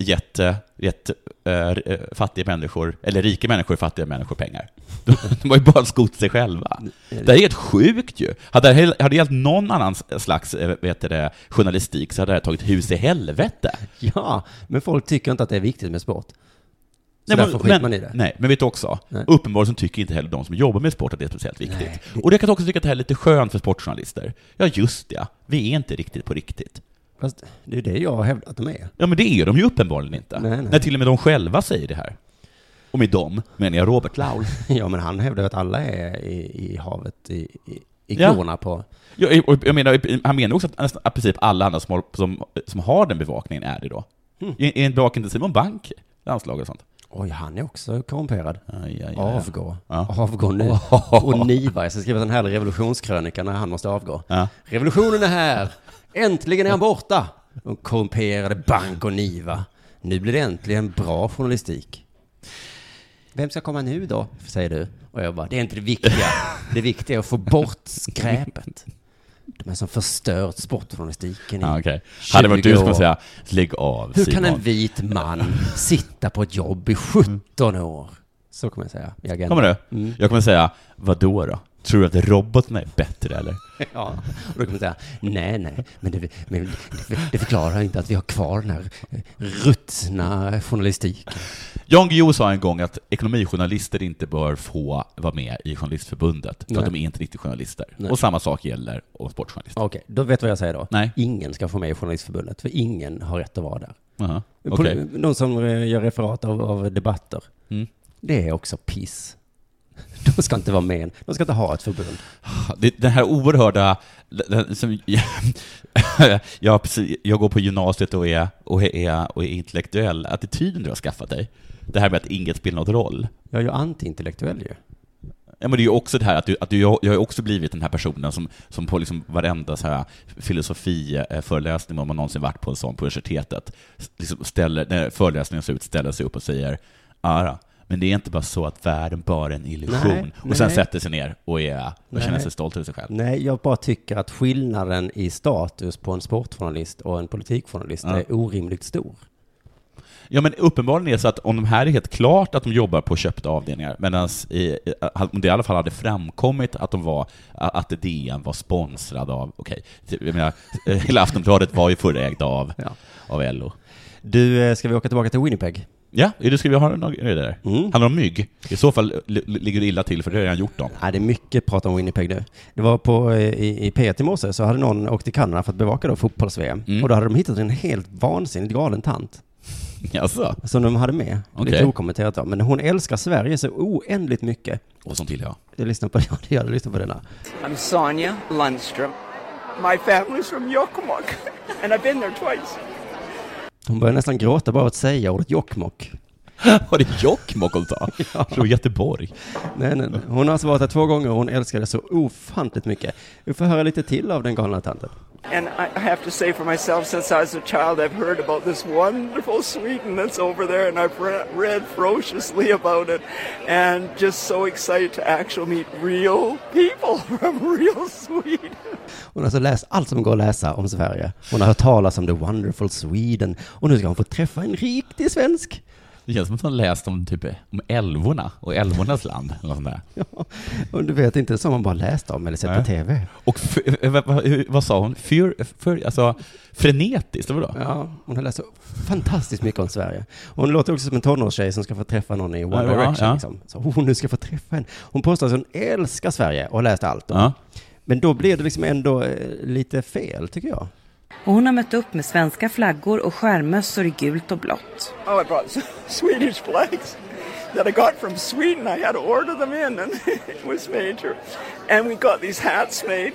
[SPEAKER 4] gett, eh, gett eh, eh, fattiga människor, eller rika människor, fattiga människor pengar. De, de har ju bara skott sig själva. Det här är helt sjukt ju. Hade det här- hade det gällt någon annan slags eh, vet du det, journalistik så hade det här tagit hus i helvete.
[SPEAKER 3] Ja, men folk tycker inte att det är viktigt med sport. Så
[SPEAKER 4] Nej,
[SPEAKER 3] därför
[SPEAKER 4] men,
[SPEAKER 3] skiter
[SPEAKER 4] men,
[SPEAKER 3] man i det.
[SPEAKER 4] Nej, men vet du också,
[SPEAKER 3] Nej.
[SPEAKER 4] uppenbarligen så tycker inte heller de som jobbar med sport att det är speciellt viktigt. Och det kan jag också tycka att det här är lite skönt för sportjournalister. Ja, just det. Vi är inte riktigt på riktigt.
[SPEAKER 3] Fast det är det jag har hävdat att de är.
[SPEAKER 4] Ja, men det är de ju uppenbarligen inte.
[SPEAKER 3] Nej, nej.
[SPEAKER 4] När till och med de själva säger det här. Och med dem menar jag Robert Laul.
[SPEAKER 3] Ja, men han hävdar att alla är i, i havet i, i, i
[SPEAKER 4] Ja.
[SPEAKER 3] klorna på...
[SPEAKER 4] Jag, och jag menar, han menar också att nästan i princip alla andra som, har- som, som har den bevakningen är det då.
[SPEAKER 3] Hmm.
[SPEAKER 4] Är är en bevakning till Simon Bank, landslag och sånt?
[SPEAKER 3] Oj, han är också korrumperad.
[SPEAKER 4] Aj, aj, aj.
[SPEAKER 3] Avgå.
[SPEAKER 4] Ja.
[SPEAKER 3] Avgå nu. Och niva. Jag ska skriva en härlig revolutionskrönika när han måste avgå.
[SPEAKER 4] Ja.
[SPEAKER 3] Revolutionen är här! Äntligen är han borta! De korrumperade Bank och Niva. Nu blir det äntligen bra journalistik. Vem ska komma nu då? Säger du. Och jag bara, det är inte det viktiga. Det viktiga är att få bort skräpet. De är som förstört sportjournalistiken i
[SPEAKER 4] Ja, okej. Hade det varit du
[SPEAKER 3] 20
[SPEAKER 4] som skulle
[SPEAKER 3] år.
[SPEAKER 4] säga, lägg av
[SPEAKER 3] Hur
[SPEAKER 4] Simon.
[SPEAKER 3] kan en vit man sitta på ett jobb i 17 år? Så kommer jag säga i Agenda.
[SPEAKER 4] Kommer du?
[SPEAKER 3] Mm.
[SPEAKER 4] Jag kommer säga, vad då då? Tror du att roboten är bättre eller?
[SPEAKER 3] Ja, och då kommer jag säga, nej, nej, men det, men det, det förklarar inte att vi har kvar den här eh, ruttna journalistiken.
[SPEAKER 4] Jan Guillou sa en gång att ekonomijournalister inte bör få vara med i Journalistförbundet, för att
[SPEAKER 3] Nej.
[SPEAKER 4] de är inte riktigt journalister.
[SPEAKER 3] Nej.
[SPEAKER 4] Och samma sak gäller om sportjournalister.
[SPEAKER 3] Okej, då vet du vad jag säger då?
[SPEAKER 4] Nej.
[SPEAKER 3] Ingen ska få med i Journalistförbundet, för ingen har rätt att vara där.
[SPEAKER 4] Jaha,
[SPEAKER 3] Pol-
[SPEAKER 4] Okej.
[SPEAKER 3] De som eh, gör referat av, av debatter,
[SPEAKER 4] Mm.
[SPEAKER 3] det är också piss. De ska inte vara med, de ska inte ha ett förbund.
[SPEAKER 4] Det- Den här oerhörda... Den, som, jag, precis- jag går på gymnasiet och är, och är, och är intellektuell. Attityden du har skaffat dig. Det här med att inget spelar någon roll.
[SPEAKER 3] Jag är ju antiintellektuell ju.
[SPEAKER 4] Ja, men det är ju också det här att, du, att du, jag jag har ju också blivit den här personen som, som på liksom varenda så här filosofiföreläsning, om man någonsin varit på en sån på universitetet, s- liksom ställer, när föreläsningen ser ut, ställer sig upp och säger Ara, men det är inte bara så att världen bara är en illusion.
[SPEAKER 3] Nej,
[SPEAKER 4] och sen
[SPEAKER 3] nej.
[SPEAKER 4] sätter sig ner och, är, och
[SPEAKER 3] Nej.
[SPEAKER 4] känner sig stolt över sig själv.
[SPEAKER 3] Nej, jag bara tycker att skillnaden i status på en sportjournalist och en politikjournalist
[SPEAKER 4] Ja.
[SPEAKER 3] är orimligt stor.
[SPEAKER 4] Ja, men uppenbarligen är det så att om de här är helt klart att de jobbar på köpta avdelningar, medan om det i alla fall hade framkommit att de var, att DN var sponsrad av, okej, typ, jag menar, eh, hela Aftonbladet var ju förra ägda av,
[SPEAKER 3] Ja.
[SPEAKER 4] av LO.
[SPEAKER 3] Du, eh, ska vi åka tillbaka till Winnipeg?
[SPEAKER 4] Ja, är det, ska vi ha någon är det där?
[SPEAKER 3] Mm.
[SPEAKER 4] Handlar det om mygg? I så fall li- li- ligger du illa till, för det har jag redan gjort dem.
[SPEAKER 3] Nej, det är mycket prat om Winnipeg nu. Det var på, eh, i, i P1 i morse så hade någon åkt till Kanada för att bevaka då fotbolls-VM.
[SPEAKER 4] Mm.
[SPEAKER 3] Och då hade de hittat en helt vansinnigt galen tant
[SPEAKER 4] Alltså.
[SPEAKER 3] som de hade med. Lite
[SPEAKER 4] Okej.
[SPEAKER 3] okommenterat då. Men hon älskar Sverige så oändligt mycket.
[SPEAKER 4] Och som till jag.
[SPEAKER 3] Jag lyssnar på, ja, jag lyssnar på denna.
[SPEAKER 7] I'm Sonia Lundstrom. My family's from Yokomok, and I've been there twice.
[SPEAKER 3] Hon börjar nästan gråta bara av att säga ordet Jokkmokk.
[SPEAKER 4] Var det Jokkmokk hon sa? Jag tror Göteborg.
[SPEAKER 3] Nej, nej, nej. Hon har alltså varit här två gånger och hon älskar det så ofantligt mycket. Vi får höra lite till av den galna tanten.
[SPEAKER 7] And I I have to say for myself, since I was a child, I've heard about this wonderful Sweden that's over there, and I've re- read ferociously about it, and just so excited to actually meet real people from real Sweden.
[SPEAKER 3] Hon har alltså läst allt som går att läsa om Sverige. Hon har hört talas om the wonderful Sweden och nu ska hon få träffa en riktig svensk.
[SPEAKER 4] Det känns som att hon läst om, typ, om älvorna och älvornas land. Eller något sånt där.
[SPEAKER 3] Ja, och du vet inte som man bara läst om eller sett på
[SPEAKER 4] Nej.
[SPEAKER 3] tv.
[SPEAKER 4] Och f- eh, vad- vad- hur- vad sa hon? Fyr, för, alltså, frenetiskt, eller vadå?
[SPEAKER 3] Ja, hon har läst så fantastiskt mycket om Sverige. Och Hon låter också som en tonårstjej som ska få träffa någon i One
[SPEAKER 4] Ja, ja,
[SPEAKER 3] Direction.
[SPEAKER 4] ja.
[SPEAKER 3] Liksom. Så hon nu ska få träffa en. Hon påstår att hon älskar Sverige och har läst allt. om.
[SPEAKER 4] Ja.
[SPEAKER 3] Men då blir det liksom ändå eh, lite fel, tycker jag.
[SPEAKER 8] Och hon har mött upp med svenska flaggor och skärmmössor i gult och blått.
[SPEAKER 7] Oh, I brought s- Swedish flags that I got from Sweden. I had to order them in, and it was major. And we got these hats made.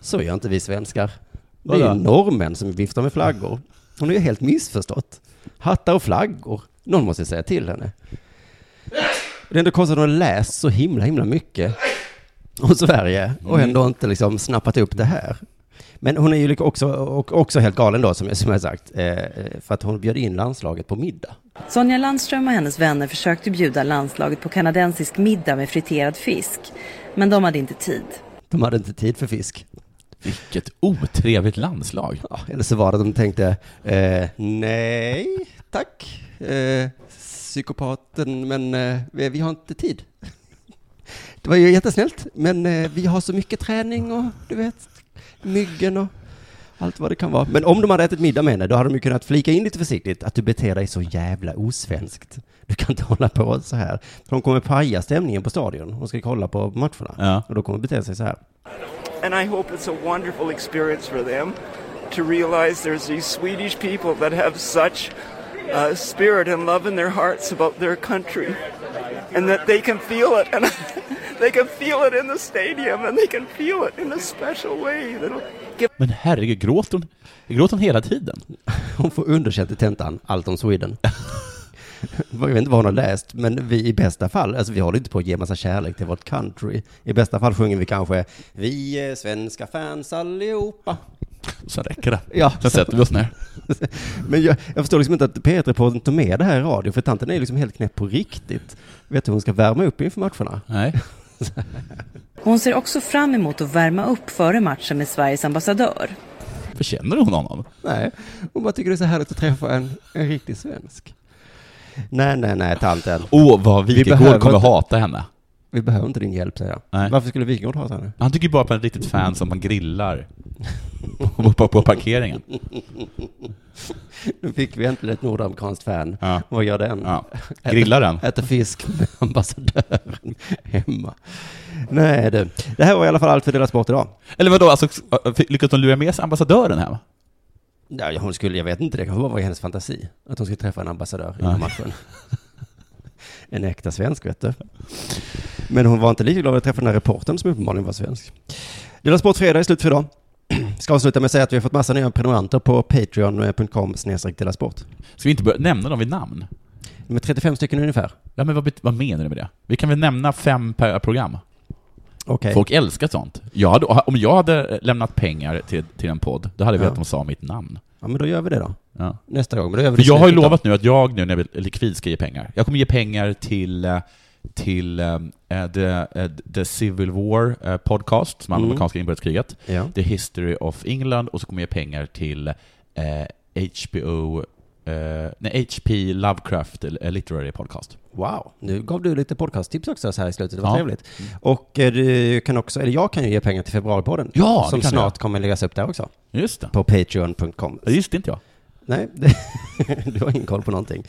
[SPEAKER 3] Så gör inte vi svenskar. Det
[SPEAKER 4] Vadå?
[SPEAKER 3] är ju norrmän som viftar med flaggor. Hon är ju helt missförstått. Hattar och flaggor. Någon måste säga till henne. Det är ändå konstigt att hon har läst så himla, himla mycket om Sverige och ändå inte liksom snappat upp det här. Men hon är ju lik- också, och också helt galen då, som, jag- som jag sagt, eh, för att hon bjöd in landslaget på middag.
[SPEAKER 8] Sonja Landström och hennes vänner försökte bjuda landslaget på kanadensisk middag med friterad fisk. Men de hade inte tid.
[SPEAKER 3] De hade inte tid för fisk.
[SPEAKER 4] Vilket otrevligt landslag.
[SPEAKER 3] Ja, eller så var det att de tänkte, eh, nej, tack. Eh,
[SPEAKER 9] psykopaten, men eh, vi vi har inte tid. Det var ju jättesnällt, men eh, vi har så mycket träning och du vet, myggen och allt vad det kan vara.
[SPEAKER 3] Men om de hade ätit middag med henne, då hade de ju kunnat flika in lite försiktigt att du beter dig så jävla osvenskt. Du kan inte hålla på så här. För de kommer paja stämningen på stadion. De ska kolla på matcherna.
[SPEAKER 4] Ja.
[SPEAKER 3] Och då kommer de bete sig så här.
[SPEAKER 7] And I hope it's a wonderful experience for them to realize there's these Swedish people that have such uh, spirit and love in their hearts about their country, and that they can feel it, and they can feel it in the stadium, and they can feel it in a special way that'll give
[SPEAKER 4] Men herregud, gråter hon, gråter hon hela tiden?
[SPEAKER 3] Hon får underkänt i tentan, allt om Sweden. Jag vet inte vad hon har läst, men vi i bästa fall, alltså vi håller inte på att ge massa kärlek till vårt country. I bästa fall sjunger vi kanske Vi är svenska fans allihopa.
[SPEAKER 4] Och Sen räcker det.
[SPEAKER 3] Ja.
[SPEAKER 4] Sen sätter vi oss ner.
[SPEAKER 3] Men jag, jag förstår liksom inte att Peter på inte tar med det här i radio, för tanten är ju liksom helt knäpp på riktigt. Vet du hur hon ska värma upp inför matcherna?
[SPEAKER 4] Nej.
[SPEAKER 8] Hon ser också fram emot att värma upp före matchen med Sveriges ambassadör.
[SPEAKER 4] Förtjänar hon honom?
[SPEAKER 9] Nej, hon bara tycker det är så härligt att träffa en, en riktig svensk.
[SPEAKER 3] Nej, nej, nej, tanten.
[SPEAKER 4] Åh, oh, vad
[SPEAKER 3] behöver
[SPEAKER 4] Wikegård kommer
[SPEAKER 3] inte-
[SPEAKER 4] hata henne.
[SPEAKER 9] Vi behöver inte din hjälp, säger jag.
[SPEAKER 4] Nej.
[SPEAKER 3] Varför skulle Wikingård ha så här nu?
[SPEAKER 4] Han tycker ju bara att man är ett riktigt fan som man grillar på, på, på parkeringen.
[SPEAKER 3] Nu fick vi äntligen ett nordamerikanskt fan.
[SPEAKER 4] Ja.
[SPEAKER 3] Vad gör den?
[SPEAKER 4] Ja. Grillar den.
[SPEAKER 3] Äter fisk med ambassadören hemma. Nej du, det här var i alla fall allt för Dela Sport idag.
[SPEAKER 4] Eller vadå, alltså, lyckades de lura med sig ambassadören hem?
[SPEAKER 3] Ja, hon skulle, jag vet inte, det kanske bara var i hennes fantasi. Att hon skulle träffa en ambassadör i
[SPEAKER 4] Ja.
[SPEAKER 3] matchen. En äkta svensk, vet du. Men hon var inte lika glad att träffa den här reportern som uppenbarligen var svensk. Dela Sport Fredag är slut för idag. Ska avsluta med att säga att vi har fått massa nya prenumeranter på patreon.com snedstreck Dela Sport.
[SPEAKER 4] Ska vi inte börja nämna dem vid namn?
[SPEAKER 3] De är 35 stycken ungefär.
[SPEAKER 4] Ja, men vad, bet- vad menar du med det? Vi kan väl nämna fem per program?
[SPEAKER 3] Okej.
[SPEAKER 4] Folk älskar sånt. Jag hade, om jag hade eh, lämnat pengar till, till en podd, då hade jag velat
[SPEAKER 3] Ja.
[SPEAKER 4] att de sa mitt namn.
[SPEAKER 3] Ja, men då gör vi det då.
[SPEAKER 4] Ja.
[SPEAKER 3] Nästa gång. Men då gör vi
[SPEAKER 4] För
[SPEAKER 3] det
[SPEAKER 4] jag har ju
[SPEAKER 3] slutet då.
[SPEAKER 4] lovat nu att jag nu när jag blir likvid ska ge pengar. Jag kommer ge pengar till, eh, till eh, the, eh, the Civil War eh, podcast, som handlar om
[SPEAKER 3] Mm.
[SPEAKER 4] amerikanska inbördeskriget.
[SPEAKER 3] Ja.
[SPEAKER 4] The History of England och så kommer jag ge pengar till eh, HBO eh, nej, HP Lovecraft eh, Literary Podcast.
[SPEAKER 3] Wow, nu gav du lite podcasttips också så här i slutet, det var
[SPEAKER 4] Ja.
[SPEAKER 3] trevligt. Och eh, du kan också, eller jag kan ju ge pengar till Februaripodden.
[SPEAKER 4] Ja, det
[SPEAKER 3] Som
[SPEAKER 4] kan
[SPEAKER 3] snart kommer läggas upp där också,
[SPEAKER 4] Just det.
[SPEAKER 3] på patreon.com.
[SPEAKER 4] Ja, Just det, inte jag.
[SPEAKER 3] Nej, det, du har ingen koll på någonting.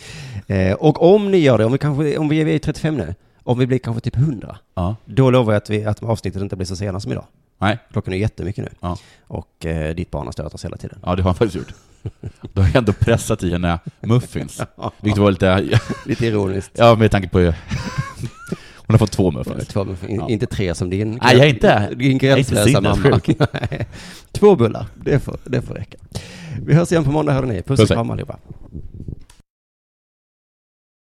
[SPEAKER 3] Eh, och om ni gör det, om vi kanske, om vi är, vi är ju 35 nu, om vi blir kanske typ 100,
[SPEAKER 4] Ja.
[SPEAKER 3] då lovar jag att, vi, att avsnittet inte blir så sena som idag.
[SPEAKER 4] Nej.
[SPEAKER 3] Klockan är jättemycket nu.
[SPEAKER 4] Ja.
[SPEAKER 3] Och eh, ditt barn har stört oss hela tiden.
[SPEAKER 4] Ja, det har han faktiskt gjort. Då har jag ändå pressat i henne muffins. Vilket var lite,
[SPEAKER 3] Lite ironiskt.
[SPEAKER 4] ja med tanke på Hon har fått två muffins.
[SPEAKER 3] Två, men in,
[SPEAKER 4] Ja.
[SPEAKER 3] Inte tre som din.
[SPEAKER 4] Nej, jag är inte-
[SPEAKER 3] Din
[SPEAKER 4] jag är inte
[SPEAKER 3] gränslösa mamma.
[SPEAKER 4] sinnessjuk.
[SPEAKER 3] Nej. Två bullar, det får, det får räcka. Vi hörs igen på måndag, hörni. Puss och
[SPEAKER 4] Puss, hej.
[SPEAKER 3] kram allihopa.